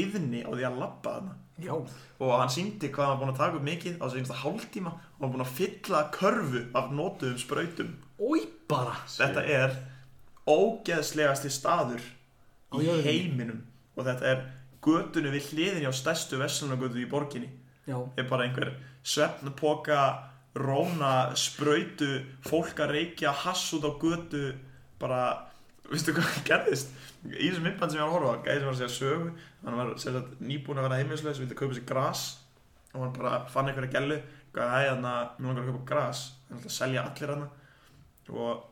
C: eðni á því að labba hana
B: já,
C: og hann síndi hvað hann var búinn að taka upp mikið á þessu einsta hálftíma hann var búinn að fylla körfu af notuðum sprautum
B: ói bara,
C: þetta er ógeðslegasti staður
B: Á
C: í
B: jörðinni.
C: heiminum og þetta er götunni við hliðinni á stærstu verslunagötu í borginni
B: já,
C: er bara einhver svefnpoka róna, spröytu fólk að reykja hass út á götu bara, veistu hvað [laughs] gerðist í þessum myndband sem ég var að horfa á, gæði sem var að segja sögu hann var sem sagt, nýbúin að vera heimilislaus vildi kaupa sér gras og hann bara fann einhverja gælu gæði hann að mér langar að kaupa gras hann ætla að selja allir hann og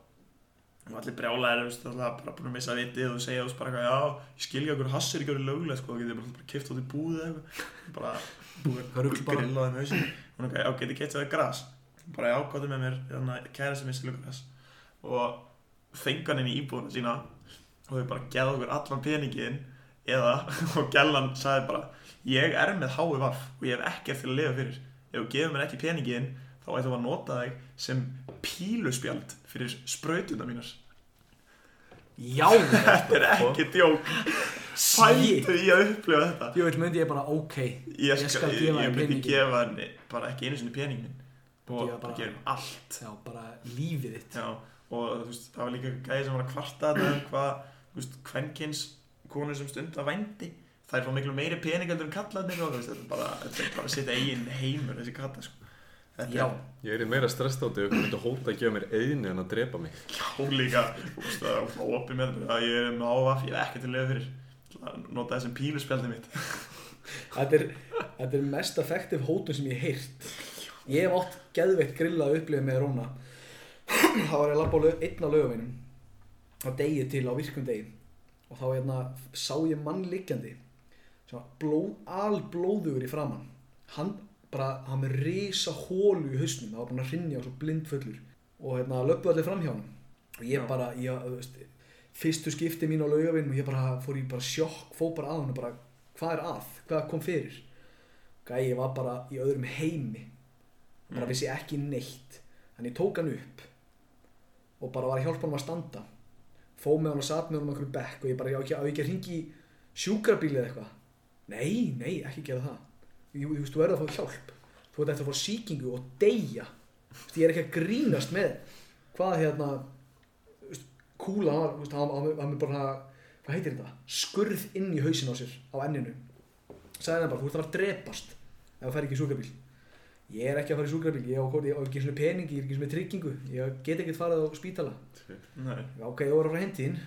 C: og allir brjálæðir, veist, alltaf bara búin að missa vitið og segja, þú veist, bara eitthvað, já, ég skilja okkur hassir ekki orðið lögulega, sko, þá getið þið bara, bara kift út í búið eða eitthvað, bara
B: það rugl bara.
C: grill á þeim hausin og hún ok, getið keitt það græs bara já, gottum með mér, þannig að kæra sem ég silu græs og fengi hann inn í íbúðuna sína og þau bara geða okkur allan peningin eða, [laughs] og gælan sagði bara ég er með hái vaff og ég hef ekkert til að lifa fyrir ef þú gefur mér ekki peningin þá ætlum við að nota þig sem píluspjald fyrir sprautuna mínar
B: já,
C: þetta er ekki djók
B: sítt,
C: pæltu í að upplifa þetta
B: jú veit, myndi ég bara, ok,
C: ég,
B: Ég
C: skal,
B: skal
C: ég,
B: gefa þér
C: ég myndi
B: peninginn.
C: gefa henni bara ekki einu sinni peningin og
B: Gefa
C: bara
B: bara-
C: gerum allt
B: já, bara lífið þitt,
C: já, og þú veist, það var líka gæði sem var að kvarta þetta um hvað þú veist, kvenkins konur sem stunda vændi þær fá miklu meiri pening heldur en kallarnir og þú veist, þetta er bara, þetta er bara sitt eigin heimur þessi kalla sko. þetta
B: já,
D: Ég er í meira stressd á því að hún myndi hóta að gefa mér eðinu en að drepa mig.
C: er líka þú veist, það er opið með þetta að ég er með ávaf, ég er ekki til leið fyrir Ég ætla að nota þessum píluspjaldið mitt
B: þetta er, þetta er mest effektiv hótun sem ég heirt, ég hef átt geðveitt grilla að upplifa með Róna, þá var ég að labba á lög, einn á lögavinum, á degi til á virkum degi, og þá hérna sá ég mann liggjandi, sem var blóð, alblóðugur í framann, hann bara, hann með risa hólu í hausnum, það var bara að rinja og svo blindfullur, og hérna löppu allir fram hjá hann, og ég bara, ég, þú veist, fyrstu skipti mín á laugavinnum, ég bara fór í bara sjokk, fór bara að hann og bara, hvað er að, hvað kom fyrir, gæi, ég var bara í öðrum heimi, bara vissi ekki neitt þannig ég tók hann upp og bara var að hjálpa hann að standa fó með hann og sat með hann um einhverjum bekk og ég bara, já ekki, á ég ekki að ringi sjúkrabíl eða eitthvað nei, nei, ekki gera það Jú, þú veist, þú verður að fá hjálp þú veist, eftir að fá sýkingu og deyja þú veist, ég er ekki að grínast með hvað hérna þú veist, kúla, hann var, þú veist, hann- hann hann er bara hvað heitir þetta, skurð inn í hausin á sér á enninu sagði hann bara, þú ert að fara að drepast ef þú fær ekki sjúkrabíl ég er ekki að fara í sjúkrabíl, ég á ég á ekki svona pening, ég er ekki svona tryggingu, ég get ekkert farið á spítala.
C: Nei.
B: Já, ok, ég var að fara heim til þín,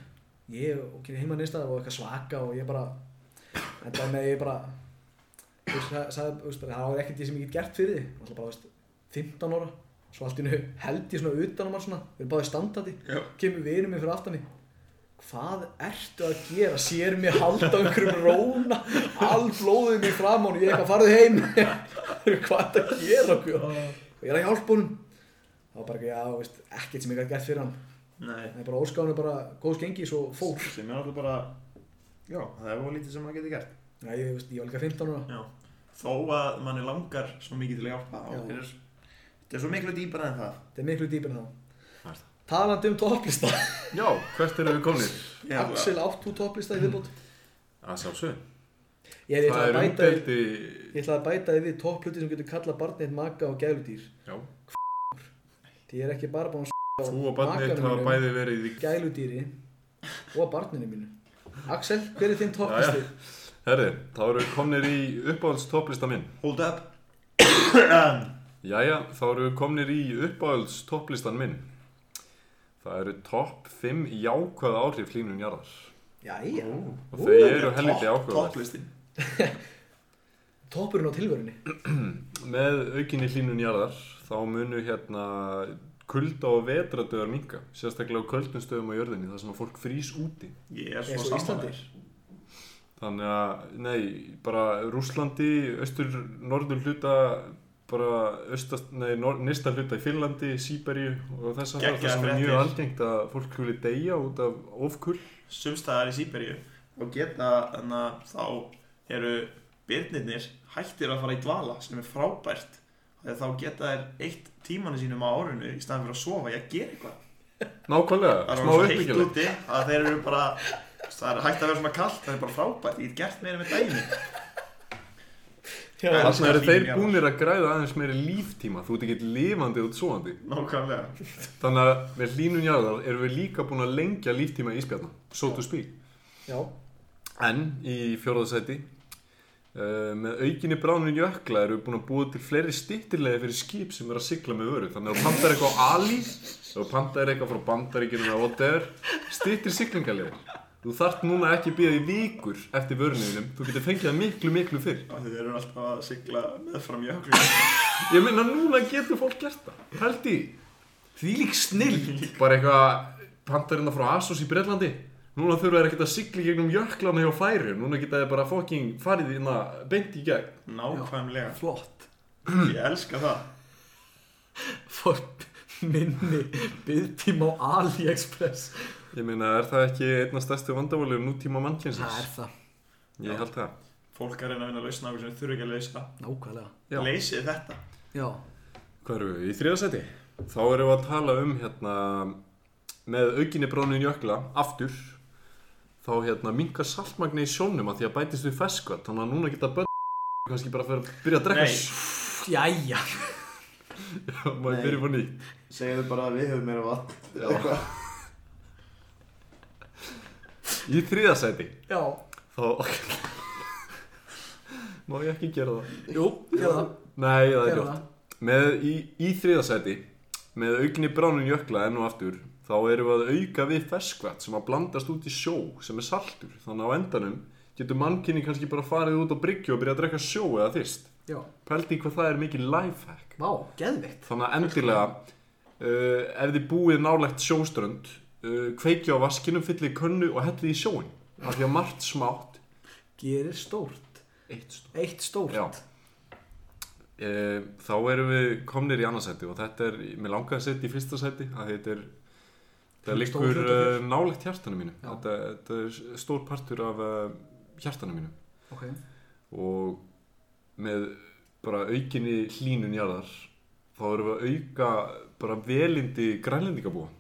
B: ég og kynni heima neins staðar og eitthvað svaka og ég bara, en það með ég bara, Þú veist, það- sagði- þú veist, bara, það var ekkert því sem ég get gert fyrir því Náttúrulega bara, þú veist, 15 ára Svo allt í hennu held ég svona utan á mann svona Við erum báðið standandi
C: Já.
B: Kemur vinur minn fyrir aftan mig Hvað ertu að gera? Sér mig halda á einhverjum róna All blóðið mig fram á hún Ég er eitthvað farið heim [laughs] Hvað ertu að gera okkur? Og ég er að hjálpa honum Það var bara eitthvað, já, þú veist, ekkert sem ég gæti gert fyrir hann
G: Nei,
B: Það er bara óskáðan bara góðs gengis og fór
G: sem er alltaf bara Já, það er ofan lítið sem maður getur gert
B: Já, ég, þú veist, ég var líka 15 ára
C: Já. Þó að manni langar svo mikið til að hjálpa
B: Já.
C: og fyrir
G: Þetta er svo miklu dýpar en það
B: Þetta er miklu dýpin þá
D: Hvað er það?
B: Talandi um topplista
D: Já, hvert eru við komnir?
C: Já,
B: Axel átt þú topplista í viðbót
D: Að sjálfsög
B: Ég,
D: Mm.
B: ég,
D: Það
B: ætlaði
D: er
B: að bæta,
D: umdelt í
B: ég ætlaði að bæta því við toppluti sem getur kallað barnið maka og gæludýr
D: Já,
B: Því ég er ekki bara búin að s*** á
D: þú og barnið
B: makanum
D: hafa
B: mínum,
D: bæði verið í
B: Gæludýri og barninu mínu Axel, hver er þinn topplisti?
D: Herri, þá eru við komnir í uppáhalds topplista minn
G: Hold up
D: Jæja, þá eru við komnir í uppáhalds topplistan minn Það eru topp 5 jákvæð áhrif hlínun jarðar
B: Jæja,
D: Og þau
C: Þetta
D: eru
C: er
D: helviti
C: topp-
D: ákvæðar
C: Topplistin
B: toppurinn á tilverunni
D: Með aukinni hlínun jarðar þá munu hérna kulda og vetradöðar minka Sérstaklega á köldum stöðum á jörðinni þar sem að fólk frýs úti
C: Ég er
B: eins
C: svo
B: og Íslandi
C: samanlæg
D: Þannig að, nei, bara Rúslandi, austur, norður hluta bara austast, nei, nor, nýsta hluta í Finnlandi, Sýberíu og þess að það
C: Geggjaðar
D: sem er mjög
C: fréttir.
D: algengt að fólk hljúli deyja út af ofkull
C: Sumstaðar í Sýberíu og geta þannig að þá eru byrnirnir hættir að fara í dvala sem er frábært þegar þá geta þær eitt tímanu sínum á árinu í staðan fyrir að sofa í að gera eitthvað
D: Nákvæmlega,
C: Það er
D: smá
C: alveg svo heitt
D: uppbyggilegt
C: úti að þeir eru bara það er hægt að vera svona kallt, það er bara frábært ég get gert meira með daginn
B: Já,
C: Já.
D: Þannig eru
C: Elskar
D: þeir
C: hlýnun jarðar.
D: búnir að græða aðeins meiri líftíma Þú ert ekki lifandi út svoandi
C: Nákvæmlega
D: Þannig að með hlínun jarðar erum við líka búin að lengja líftíma íspjarna So to speak
B: já,
D: En í fjórðasæti uh, með aukinni bránun jökla erum við búin að búa til fleiri stýttirlega fyrir skip sem er að sigla með vöru þannig að þú pantar eitthvað á Ali þú pantar eitthvað frá bandaríkinu eða whatever stýttir siglingarlega þú þart núna ekki að býða í vikur eftir vöruninum, þú getur fengið það miklu miklu fyrr
C: Af því Þeir eru alltaf að sigla meðfram jöklum
D: ég meina núna getur fólk gert það held í því lík snill [laughs] bara eitthvað pantarina frá Asos í Breitlandi núna þurfa þeir ekkert að sigla í gegnum jöklana hjá færi núna geta þeir bara fucking farið inn að beint í gegn
C: Nákvæmlega
B: flott
C: Ég elska það
B: Fólk minni byggtíma á AliExpress
D: Ég meina, er það ekki einna stærstu vandaválið nútíma
B: Það er
D: mannkynsins?
B: það,
D: Ég held það.
C: Fólk er að reyna að vinna að lausna okkur sem þau þurfa ekki að lausa
B: nákvæmlega
D: Já.
C: Leysið þetta
B: Já,
D: Hvað eru við? Í þriðasæti? Þá erum við að tala um hérna með aukinni brónin jökla aftur þá hérna minka saltmagni í sjónum að því að bætist við feskvat þannig að núna geta börn kannski bara fyrir að byrja að drekka
C: Nei.
D: s-
B: jæja
D: maður
G: Nei.
D: byrja fór nýtt
G: Segðu bara að við höfum meira vatn Eitthvað.
D: Í þriðasæti
B: Já,
D: þá má ég ekki gera það
B: jú, gera það,
D: Nei, það er
B: gera
D: gott
B: það
D: Með í, í þriðasæti, með aukinni bránun jökla enn og aftur, þá erum við að auka við ferskvætt sem að blandast út í sjó sem er saltur. Þannig að á endanum getur mannkinni kannski bara farið út á bryggju og byrja að drekka sjó eða þyrst.
B: Já,
D: Pældi í hvað það er mikið lifehack.
B: vá, geðvikt
D: Þannig að endilega, uh, ef þið búið nálægt sjóströnd, uh, kveikja á vaskinu, fyllið í könnu og hellið í sjóin. Af því að margt smátt,
B: Gerir stórt,
D: eitt stórt.
B: eitt stórt
D: Já. Eh, Þá erum við komnir í annarsæti og þetta er, mér langaði að setja í fyrsta sæti að þetta er,
B: Stór
D: það liggur
B: hluti þér.
D: eh, nálægt hjartanu mínu,
B: Já.
D: þetta, þetta er stór partur af eh, hjartanu mínu
B: Ok,
D: og með bara aukinni hlínun jarðar þá erum við að auka bara velindi grænlendingabúa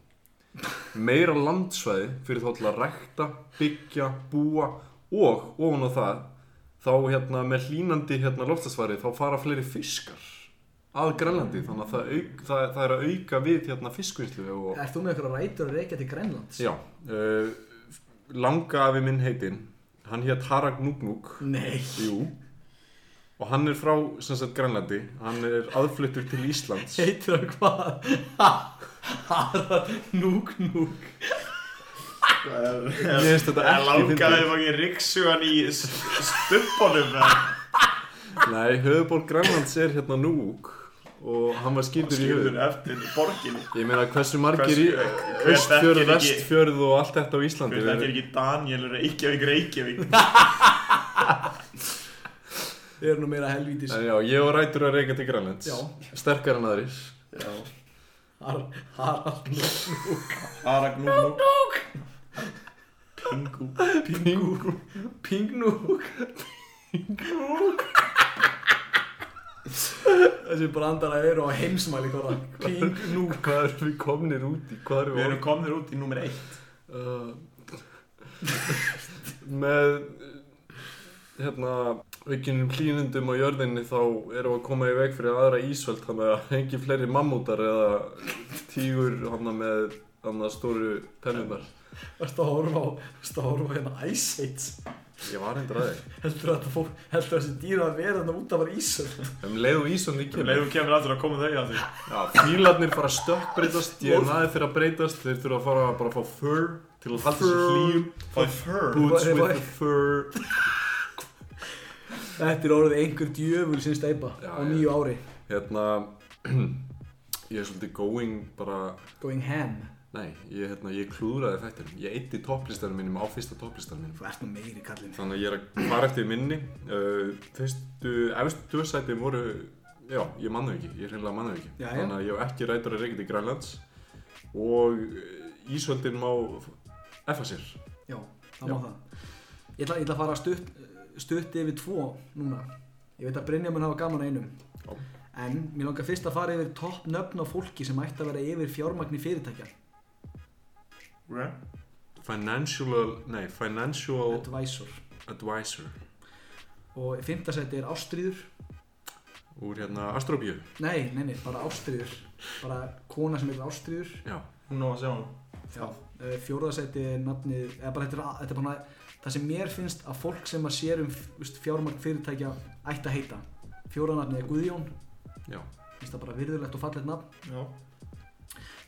D: meira landsvæði fyrir þá til að rækta, byggja, búa og ofan á það þá hérna með hlínandi hérna loftasværi þá fara fleiri fiskar að grænlandi þannig að það, auk, það, það er að auka við hérna fiskvinnslu og,
B: Ert þú með eitthvað rætur að reykja til Grænlands?
D: já, uh, langa afi minn heitinn hann hétt Harag Núknúk
B: Nei
D: Jú Og hann er frá, sem sagt, Grænlandi Hann er aðfluttur til Íslands
B: Heitir það hvað? Ha, Hara, núk, núk
G: Það er-
D: Ég veist þetta
C: Það
D: ekki
C: langaði
D: fyndið
C: fangin riksugan í s- stubbanum eða?
D: Nei, höfuborg Grænlands er hérna núk og hann var skýrður í höfuð
C: skilur eftir borginni
D: Ég meina hversu margir í
C: Hversu- hver
D: Östfjörð,
C: þekkir ekki-
D: Vestfjörð og allt þetta á Íslandi
C: Hver þetta er ekki Daniel Reykjavík Reykjavík
B: Ég er nú meira helvítis
D: En já, ég og Rætur að reyka til Grænlands
B: Já.
D: Sterkar en aðrir
B: Har- Harald
C: Aragnúk Pingu
D: Pingu
B: Pingnúk Þessi brandara eru á heimsmæli hvora Pingnúk
D: Hvað erum við komnir út í? Hvað erum
C: Við
D: við
C: erum komnir út í nummer 1
D: uh, með hérna aukinum hlýnundum á jörðinni þá erum við að koma í veg fyrir aðra ísvöld þannig að engin fleiri mammútar eða tígur hana með hana stóru pennunar
B: Varstu að horfa á Varstu að horfa á hérna Ice Age
D: ég var hendur að þig
B: Heldur að þetta fólk Heldur að þessi dýra að vera þarna út af var ísöld
D: um leið og ísvöld ekki
C: Leifur kemur aftur að koma þau að því
D: fílarnir fara að stökkbreytast DNA þeir að breytast þeir þurfa að fara bara að fá fur til að halda sér hlýjum
C: Fáði fur
D: boots
B: Bye,
D: with
B: bye.
D: the fur
B: Þetta er orðið einhver djöful sinns steipa
D: Já,
B: Á
D: já.
B: nýju ári
D: hérna [clears throat] ég er svolítið going bara
B: Going ham
D: Nei, ég, hérna, ég klúðraði þættinum. Ég eitti topplistanum mínum á fyrsta topplistanum mínum.
B: Þú ert nú meiri kallinn
D: Þannig að ég er að fara eftir minni. Uh, fyrstu, efstu tvö sætin voru, já, ég manna ekki, ég hreinlega manna ekki.
B: Jæja.
D: Þannig að ég hef ekki rætur að reykja til Grænlands og uh, Ísöldin má effa sér.
B: Já, það má
D: Já.
B: það Ég ætla, ég ætla að fara stutt, stutt yfir tvo núna Ég veit að Brynja mun hafa gaman að einum
D: Já.
B: En mér langar fyrst að fara yfir topp nöfn á fólki sem ætti að vera yfir fjármagni fyrirtækja
D: Financial, nei, financial
B: Advisor
D: advisor
B: Og í fimmta seti er Ástríður
D: úr hérna Astrobíu.
B: Nei, nei, nei, bara Ástríður Bara kona sem heitir Ástríður
D: Já,
C: Hún á að sjá hann
B: Já, eh, fjórða seti er nafnið Eða bara þetta er, að- þetta er bara það sem mér finnst að fólk sem að sér um veist, fjármagn fyrirtækja ætti að heita Fjórða nafnið er Guðjón
D: já.
B: Finnst það bara virðulegt og fallegt nafn
C: Já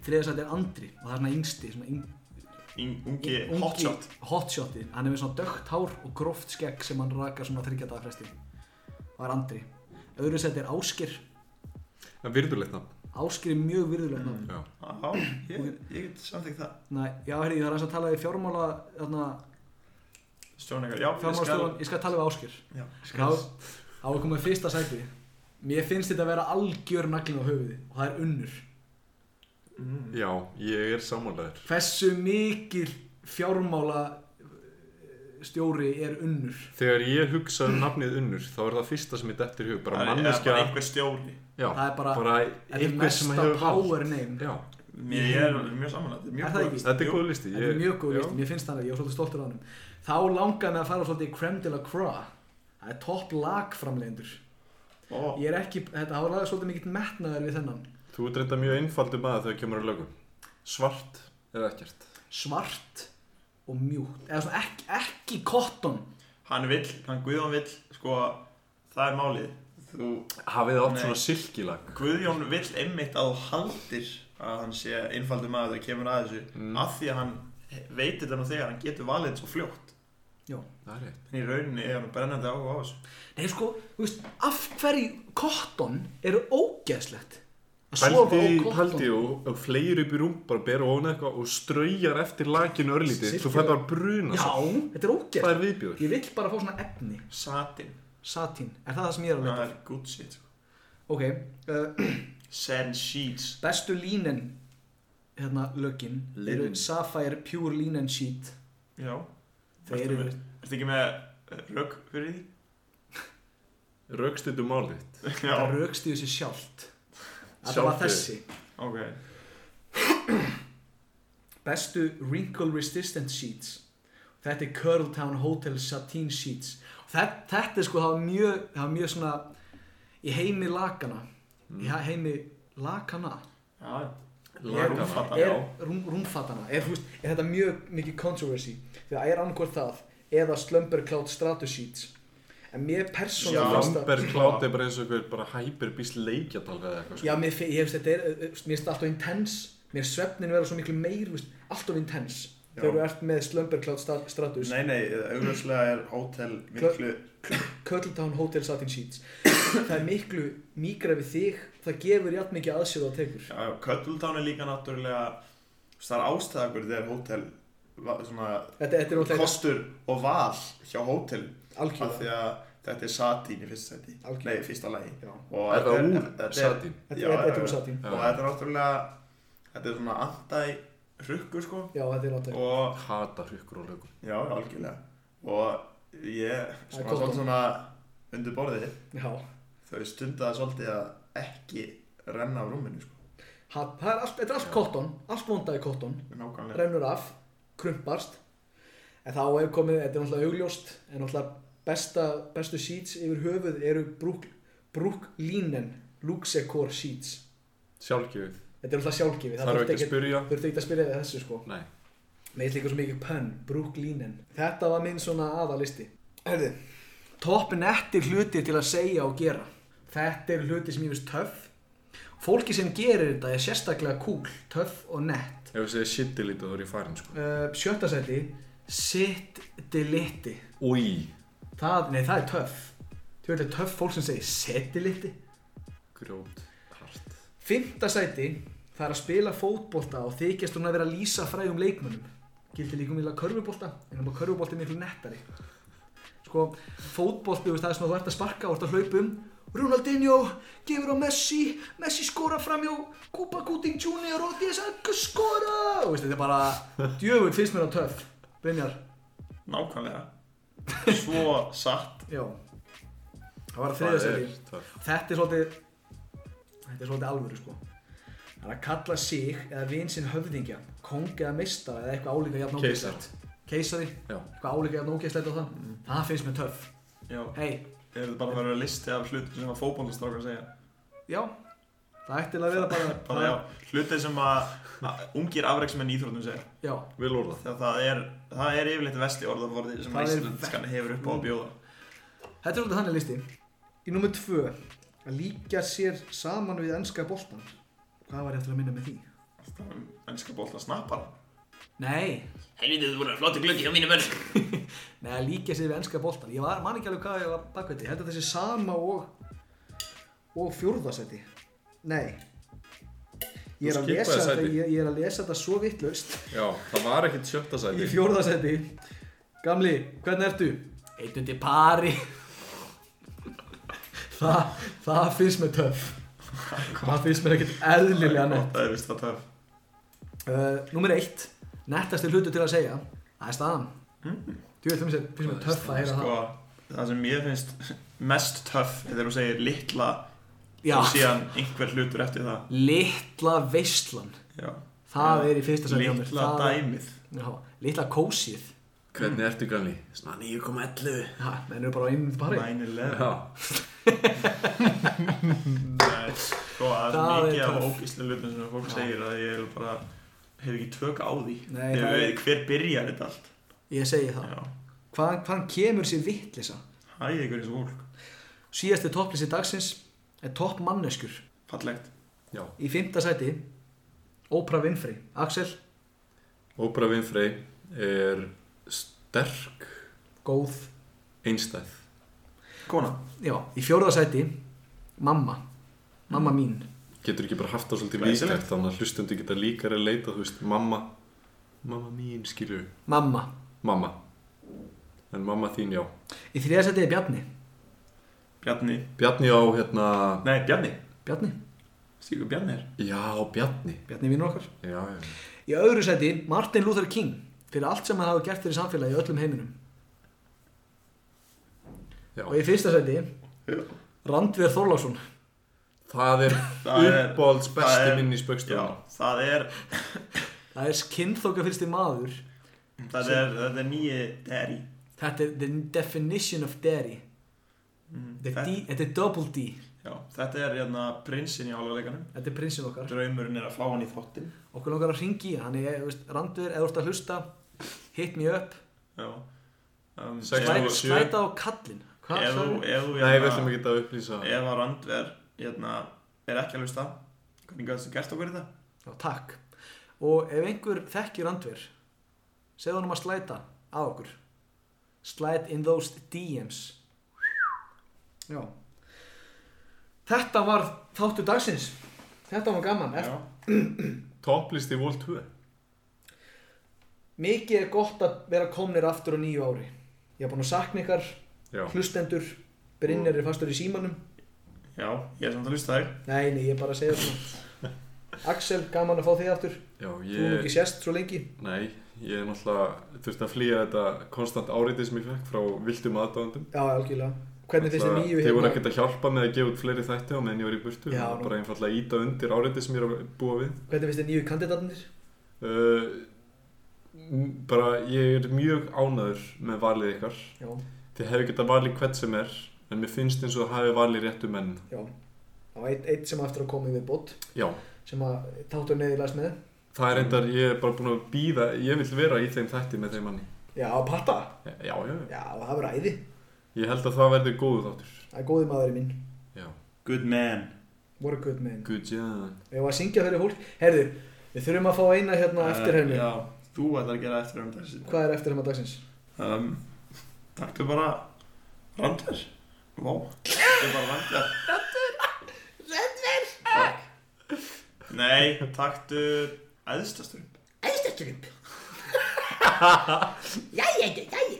B: þriðasætt er Andri og það er svona yngsti svona yng,
C: Í- Ungi hotshot
B: hotshoti hann er með svona dögt hár og gróft skegg sem hann rakar svona þryggja dagar fresti það er Andri öðru sætt er Áskir
D: En virðulegt nafn.
B: Áskir er mjög virðulegt nafn
D: Já.
C: Já, ég, ég get samþyggt það
B: Nei, já, heyrðu, það er eins að tala við fjármála þarna,
C: Stjórnengar, já, ég skal
B: fjármálastjóðan, ég skal tala við Áskir
C: Já,
B: þá þá er komið fyrsta sæti mér finnst þetta að vera algjör naglin á höfuði og það er unnur Mm.
D: Já, ég er sammálaður.
B: hversu mikil fjármála eh, stjóri er unnur
D: Þegar ég hugsa um nafnið Unnur, þá er það fyrsta sem ég dettur í hug, bara
C: Það er- eða
D: manneskja,
C: bara einhver stjóri
D: já,
B: Það er bara- Þetta er
D: einhver sem
B: mesta
D: hefur vald.
B: power name
D: Já,
C: Mér ég er mjög samanlega
B: Er
C: Mjög
B: það
C: góð
B: ekki?
D: þetta er
C: Jú.
D: góð listi.
B: Þetta er mjög góð
D: já.
B: list, mér finnst þannig, ég var svolítið stoltur á hann Þá langaði mig að fara svolítið í creme de la croix Það er topp lagframlegendur
C: Ó,
B: Ég er ekki, þetta hafa lagað svolítið mikill metnaður við þennan
D: Þú ert reynda mjög einfaldur maður þegar kemur að lögum. Svart eða ekkert.
B: Svart og mjúkt Eða svona ekki, ekki cotton
C: Hann vill, hann Guðjón vill Sko, það er málið Þú,
D: Hafið þið átt
C: Nei.
D: svona silkilag.
C: Guðjón vill einmitt að þú haldir Að hann sé einfaldur maður þegar kemur að þessu
D: Mm.
C: Af því að hann veitir þetta nú þegar Hann getur valið þetta svo fljótt
D: Það er rétt.
C: En í rauninni er hann brennandi áhuga á þessu
B: Nei sko, þú veist, af hverju cotton eru ógeðslegt Að sofa á
D: Pældi,
B: cotton.
D: pældi og, og fleir upp í rúm, bara bera ofan eitthvað og straujar eftir lakinu örlítið. Þú
B: Silkilag.
D: fær bara bruna.
B: Já, þetta er
D: Það
B: ógeðslegt
D: er viðbjóður.
B: Ég vill bara fá svona efni,
C: Satin,
B: satín Er það það sem ég er að
C: það
B: leita?
C: er good shit sko.
B: Ok, uh,
C: Sand sheets
B: bestu línen hérna lögin eru
D: Linen.
B: Sapphire Pure Linen Sheet
C: Já
B: þau
C: Ertu
B: eru
C: með- ertu ekki með rögg fyrir því?
D: Rögstutu málið. þitt.
C: Já,
B: það raukstu þessi sjálft þetta var
D: Sjálft
B: þessi
C: ok
B: bestu Wrinkle Resistant Sheets þetta er Curl Town Hotel Satin Sheets þetta, þetta er sko það var mjög, það var mjög svona í heimi lakana í ha- heimi lakana
C: Já,
D: Lagana.
C: Rúmfata,
B: er
C: já.
B: rúm, rúmfatana er, þú veist, er þetta mjög mikið controversy því það er annað það eða Slumber Cloud Stratus Sheets en mér persónulega
C: Já.
B: finnst það-
D: Lambert klátt er bara eins og einhver bara hæperbís leikjadal eða eitthvað sko.
B: Já, mér, fi- ég hefst þetta er, eh, eh, mér finnst það alltaf intense Mér finnst svefnin vera svo miklu meir, veist, alltaf intense
C: Já.
B: Þegar þú ert með Slumber Cloud Stratus
C: Nei, nei, auðvitað er hótel miklu
B: Cuddle Town Hotel Satin Sheets það er miklu mýgra við þig það gefur jafn mikið aðsjóð að tegur
C: Já, já, Köttlután er líka náttúrulega þú veist, það er ástæða hverju þegar hótel va- svona
B: þetta, þetta er ótrúlega
C: kostur og val hjá hótel af því
B: algjörða
C: að þetta er satín í fyrsta sæti
B: Algjörlega.
C: nei, fyrsta lagi
B: Já.
C: og
D: Er það
C: þetta
D: úr
C: þetta er-
D: satín?
B: Þetta
C: Já,
B: er-
C: já,
B: þetta er úr
C: já.
B: satín.
C: og þetta er náttúrulega þetta er svona andæ hrukkur sko
B: já þetta er ótrúlega
C: og
D: Hata hrykkur og lögum
C: Já, algjörlega og ég
B: Það er
C: svona
B: gott
C: svolítið
B: orð.
C: svona undir borðið
B: já
C: þau stundaði svolítið að ekki renna af rúminu sko.
B: Ha- það er allt, þetta er allt kotton, allt vondaði kotton
C: nákvæmlega
B: rennur af, krumpast en þá er komið, þetta er náttúrulega augljóst en náttúrulega besta, bestu sheets yfir höfuð eru brúk, brúklínen Luxecor sheets
D: Sjálfgjöfið
B: þetta er náttúrulega sjálfgefið
D: Þarf ekki að spyrja
B: þú ert ekki að spyrja þig þessu sko
D: Nei
B: með eitthvað svo mikið pönn, brúklínen þetta var minn svona aðalisti herði, toppin eftir hlutir til að segja og gera þetta eru hlutir sem ég veist töff fólki sem gerir þetta er sérstaklega cool, töff og nett
D: Ef við segja shitty lítið þá er ég farin sko
B: uh, sjötta seti Sitt deliti
D: Új
B: það, Nei, það er töff Þú veit að töff fólk sem segir sitt deliti
D: Grjót Hart
B: Fymta seti Það er að spila fótbolta og þykjast hún að vera að lýsa frægum leikmönnum Gildi líka um vilja körfubolta En um að körfubolta er miklu nettari Sko, fótbolti, þú veist, það er svona þú ert að sparka og ert að hlaupa um Ronaldinho, gefur á Messi Messi skora framjá Kupa Kuting Junior og DSL skora Þú veist, þetta er bara djöfull fyrst mér á töff Brynjar
C: nákvæmlega svo satt
B: Já Það var að þriða seti
D: Það
B: Þetta er svolítið Þetta er svolítið alvöru sko Það er að kalla sig eða vin sinn höfðingja Kong eða meistara eða eitthvað álíka jafn
D: Keisara.
B: ógeðslegt Keisari,
D: Já.
B: eitthvað álíka jafn ógeðslegt á það
C: Mm.
B: Það finnst mér töff
C: já,
B: Hei,
C: er þetta bara að vera listi af hlutum sem að fótballastrákar segja
B: já Það ætti að vera bara,
C: bara já, hluti sem að að ungir afreiksmenn í íþróttum segja
B: já,
D: Vil orða
C: þegar það er, það er yfirleitt vestli orðaforði sem
B: Það
C: að
B: er Mm.
C: íslenskan hefur upp á að bjóða
B: Þetta er svolítið þannig listi Í nummer tvö Að líka sér saman við ennska boltan Hvað var ég eftir að minna með því?
C: ennska bóla um snappar
B: Nei,
H: Helviti, þú voru flottu glöggi hjá mínu mönnum.
B: Nei, að líka sér við ennska boltan. Ég var, man ekki alveg hvað ég var bakveiti. Þetta er þessi sama og, og fjórðasetti. Nei. Ég
D: Þú
B: er, að
D: skipaðir
B: lesa þetta,
D: sæti.
B: ég, ég er að lesa þetta svo vittlaust.
D: Já Það var ekkit sjötta
B: [laughs] Í
D: sæti
B: fjórðasetti. Gamli, hvernig ertu? Eitt undir pari. Þa, það finnst mér töff. það finnst mér ekkert eðlilega nett.
C: það er vist það töf
B: Uh, númer eitt, nettasti hlutu til að segja, það er staðan. Mm. Þú veit, það finnst mér töff að heyra
C: sko,
B: það.
C: það sem ég finnst mest töff er þegar þú segir litla
B: Já.
C: og síðan einhver hlutur eftir það
B: litla veistlan
C: Já.
B: það
C: Já.
B: er í fyrsta sæti hjá mér.
C: litla
B: Það-
C: dæmið
B: já, litla kósið
D: Hvernig ertu gamli? Svona 9,11
B: ha, menn eru bara inn bara í.
C: 9-11
D: Já
C: Nei, sko, það er svo
B: Það er
C: mikið af
B: töff.
C: ógíslega hlutum sem fólk
B: Já.
C: segir að ég er bara hef ekki tök á því
B: Nei,
C: Ég
B: það er-
C: veit hver byrjar þetta allt
B: ég segi það
C: Já.
B: hvaðan, hvaðan kemur sér vittlisa
C: hæ ykkur eins og fólk,
B: síðasti topplisi dagsins er topp manneskur
C: fallegt
D: Já
B: í fymta sæti Oprah Winfrey Axel,
D: Oprah Winfrey er sterk
B: góð
D: einstæð
C: kona,
B: já, í fjórða sæti mamma, mamma mín
D: Getur ekki bara haft það svolítið
C: Glæsilegt.
D: líkert þannig að hlustundi geta líkar að leita, þú veist, mamma Mamma mín, skilur
B: mamma,
D: Mamma En mamma þín, já
B: í þriða sæti er Bjarni
C: Bjarni
D: Bjarni á, hérna
C: nei, Bjarni,
B: Bjarni,
C: stíku Bjarni er
D: Já, Bjarni
B: Bjarni vinnur okkar
D: Já, já
B: í öðru sæti Martin Luther King fyrir allt sem hann hafa gert fyrir samfélagi í öllum heiminum
D: Já.
B: og í fyrsta sæti
C: Já.
B: Randvér Þorlásson
D: Það er
C: Það er-
D: uppbólds
C: það
D: besti
C: er-
D: minn í
C: já,
D: spökstunum
C: það er
B: það er kynþóka fyrsti maður
C: það er, það er nýji Derry
B: þetta er the definition of dairy þetta er, D, þetta er double D
C: Mm, já, þetta er hérna prinsinn í áluleikanum
B: þetta er prinsinn okkar
C: draumurinn er að fá hann í þottin
B: okkur langar að ringi hann er, þú veist, Randvér, eða þú ert að hlusta hit me up,
C: já um, ef-
D: Sex og-
B: Slæ-
D: sjö.
B: slæta á kallin hvað
C: ef þú
B: sagði
C: ef þú,
D: Nei, við ætlum
C: hérna,
D: ekki að upplýsa
C: ef að Randver hérna, er ekki að hlusta hvernig gæðist þú gert okkur þetta?
B: Já, takk og ef einhver þekkir Randvér segðu hann um að slæta að okkur slide in those DMs Já. Þetta var þáttu dagsins. Þetta var gaman. Eft,
D: Topplist í Vol 2
B: mikið er gott að vera komnir aftur á nýju ári. Ég er búin að sakna ykkar,
D: Já,
B: hlustendur, Brynjar er fastur í símanum.
C: Já, ég er samt að hlusta þig.
B: Nei, nei, ég er bara að segja svona.
D: [laughs]
B: Axel, gaman að fá þig aftur.
D: já
B: Þú hefur
D: ég,
B: ekki sést svo lengi.
D: nei, ég er náttúrulega þurfti að flýja þetta konstant áriði sem ég fekk frá viltum aðdáðandum
B: Já, algjörlega. Hvernig finnst þið nýju hérna-
D: Þeir voru ekkert að hjálpa með að gefa út fleiri þætti á meðan ég var í burtu
B: Já,
D: já,
B: nú.
D: bara einfallega íta undir áriði sem ég er að búa við
B: Hvernig finnst þið nýju kandidatinir?
D: uh, m- bara ég er mjög ánæður með valið ykkar
B: Já,
D: þið hefur getað valið hvert sem er en mér finnst eins og það hefur valið réttu menn
B: já. Það var eitt, eitt sem á eftir að koma í viðbót,
D: já,
B: sem að þáttur neðið læst með.
D: það er reyndar, ég er bara búin að býða ég vil vera í þeim þætti með þeim manni
B: Já, patta.
D: já, já, já,
B: Já, það verður æði.
D: ég held að það verði góðu þáttur
B: Það er góði maðurinn minn.
D: já,
C: Good man.
B: Voru gutt með henn.
D: good job
B: Við varum að syngja fyrir fólk. Herðu, við þurfum að fá eina hérna
D: Eh,
B: eftir henni.
C: Eh, Já, þú ætlar að gera eftir henni þessi.
B: Hvað er eftir henni dagsins?
C: Um, taktu bara Randver. Vá.
B: [laughs]
C: Taktu bara Randver. Randver. Randver. Nei, taktu æðstaströmp.
E: [laughs] Æðstökkum Jæja, jæja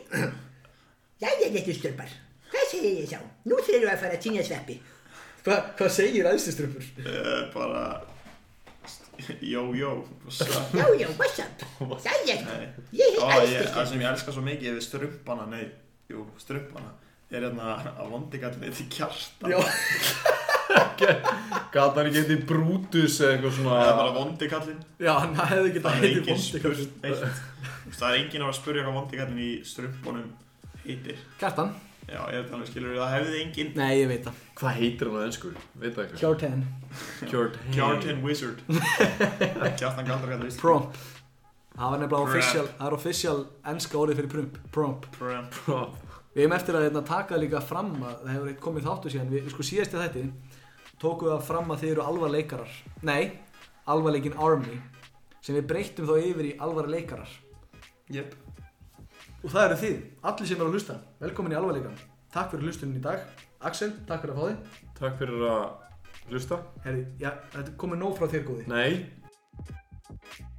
E: Jæja, jæja, stjörpar Hvað segir ég þá? Nú þurfum við að fara að týna sveppi
B: Hva, hvað segir æðstiströmpur?
C: Uh, bara... Jó, jó. Svo-
E: Já, já, what's up? Jæja,
C: Nei.
E: ég
C: Ó, ég,
E: heit
C: það
E: æðstökkum
C: sem ég elska svo mikið við strumpana, nei, jú, strumpana er hérna að vondigallin eitt í kjarta
B: Já.
D: gata hann ekki eitthvað brútus eða
C: Það er
D: eitthvað svona
C: bara vondigallin
B: Já, hann hefði ekki
C: Það er engin spurt neitt. Það er engin að vera að spurja hvað vondigallin í strumpunum heitir
B: Kjartan?
C: Já, ég veit alveg skilur það hefði engin
B: Nei, ég veit það.
D: hvað heitir hann á ennsku, veit það eitthvað
B: Kjartan.
D: Kjort
C: Kjartan Wizard Kjartan Galdra kallar víst
B: Promp. Það var nefnilega
C: Promp.
B: official, það er official enska orðið fyrir prump. Promp.
C: Prom
B: Við hefum eftir að hérna, taka líka fram að það hefur eitt komið þáttu síðan. Við, sko síðasti þetta tókum við það fram að þið eru alvarleikarar. Nei, alvarleikin Army sem við breyttum þá yfir í alvarleikarar.
C: Jep
B: Og það eru þið, allir sem eru að hlusta. Velkomin í alvarleikan. Takk fyrir hlustunin í dag. Axel, takk fyrir að fá þig.
D: takk fyrir að hlusta
B: Herri, já, þetta er komið nóg frá þér góði.
D: nei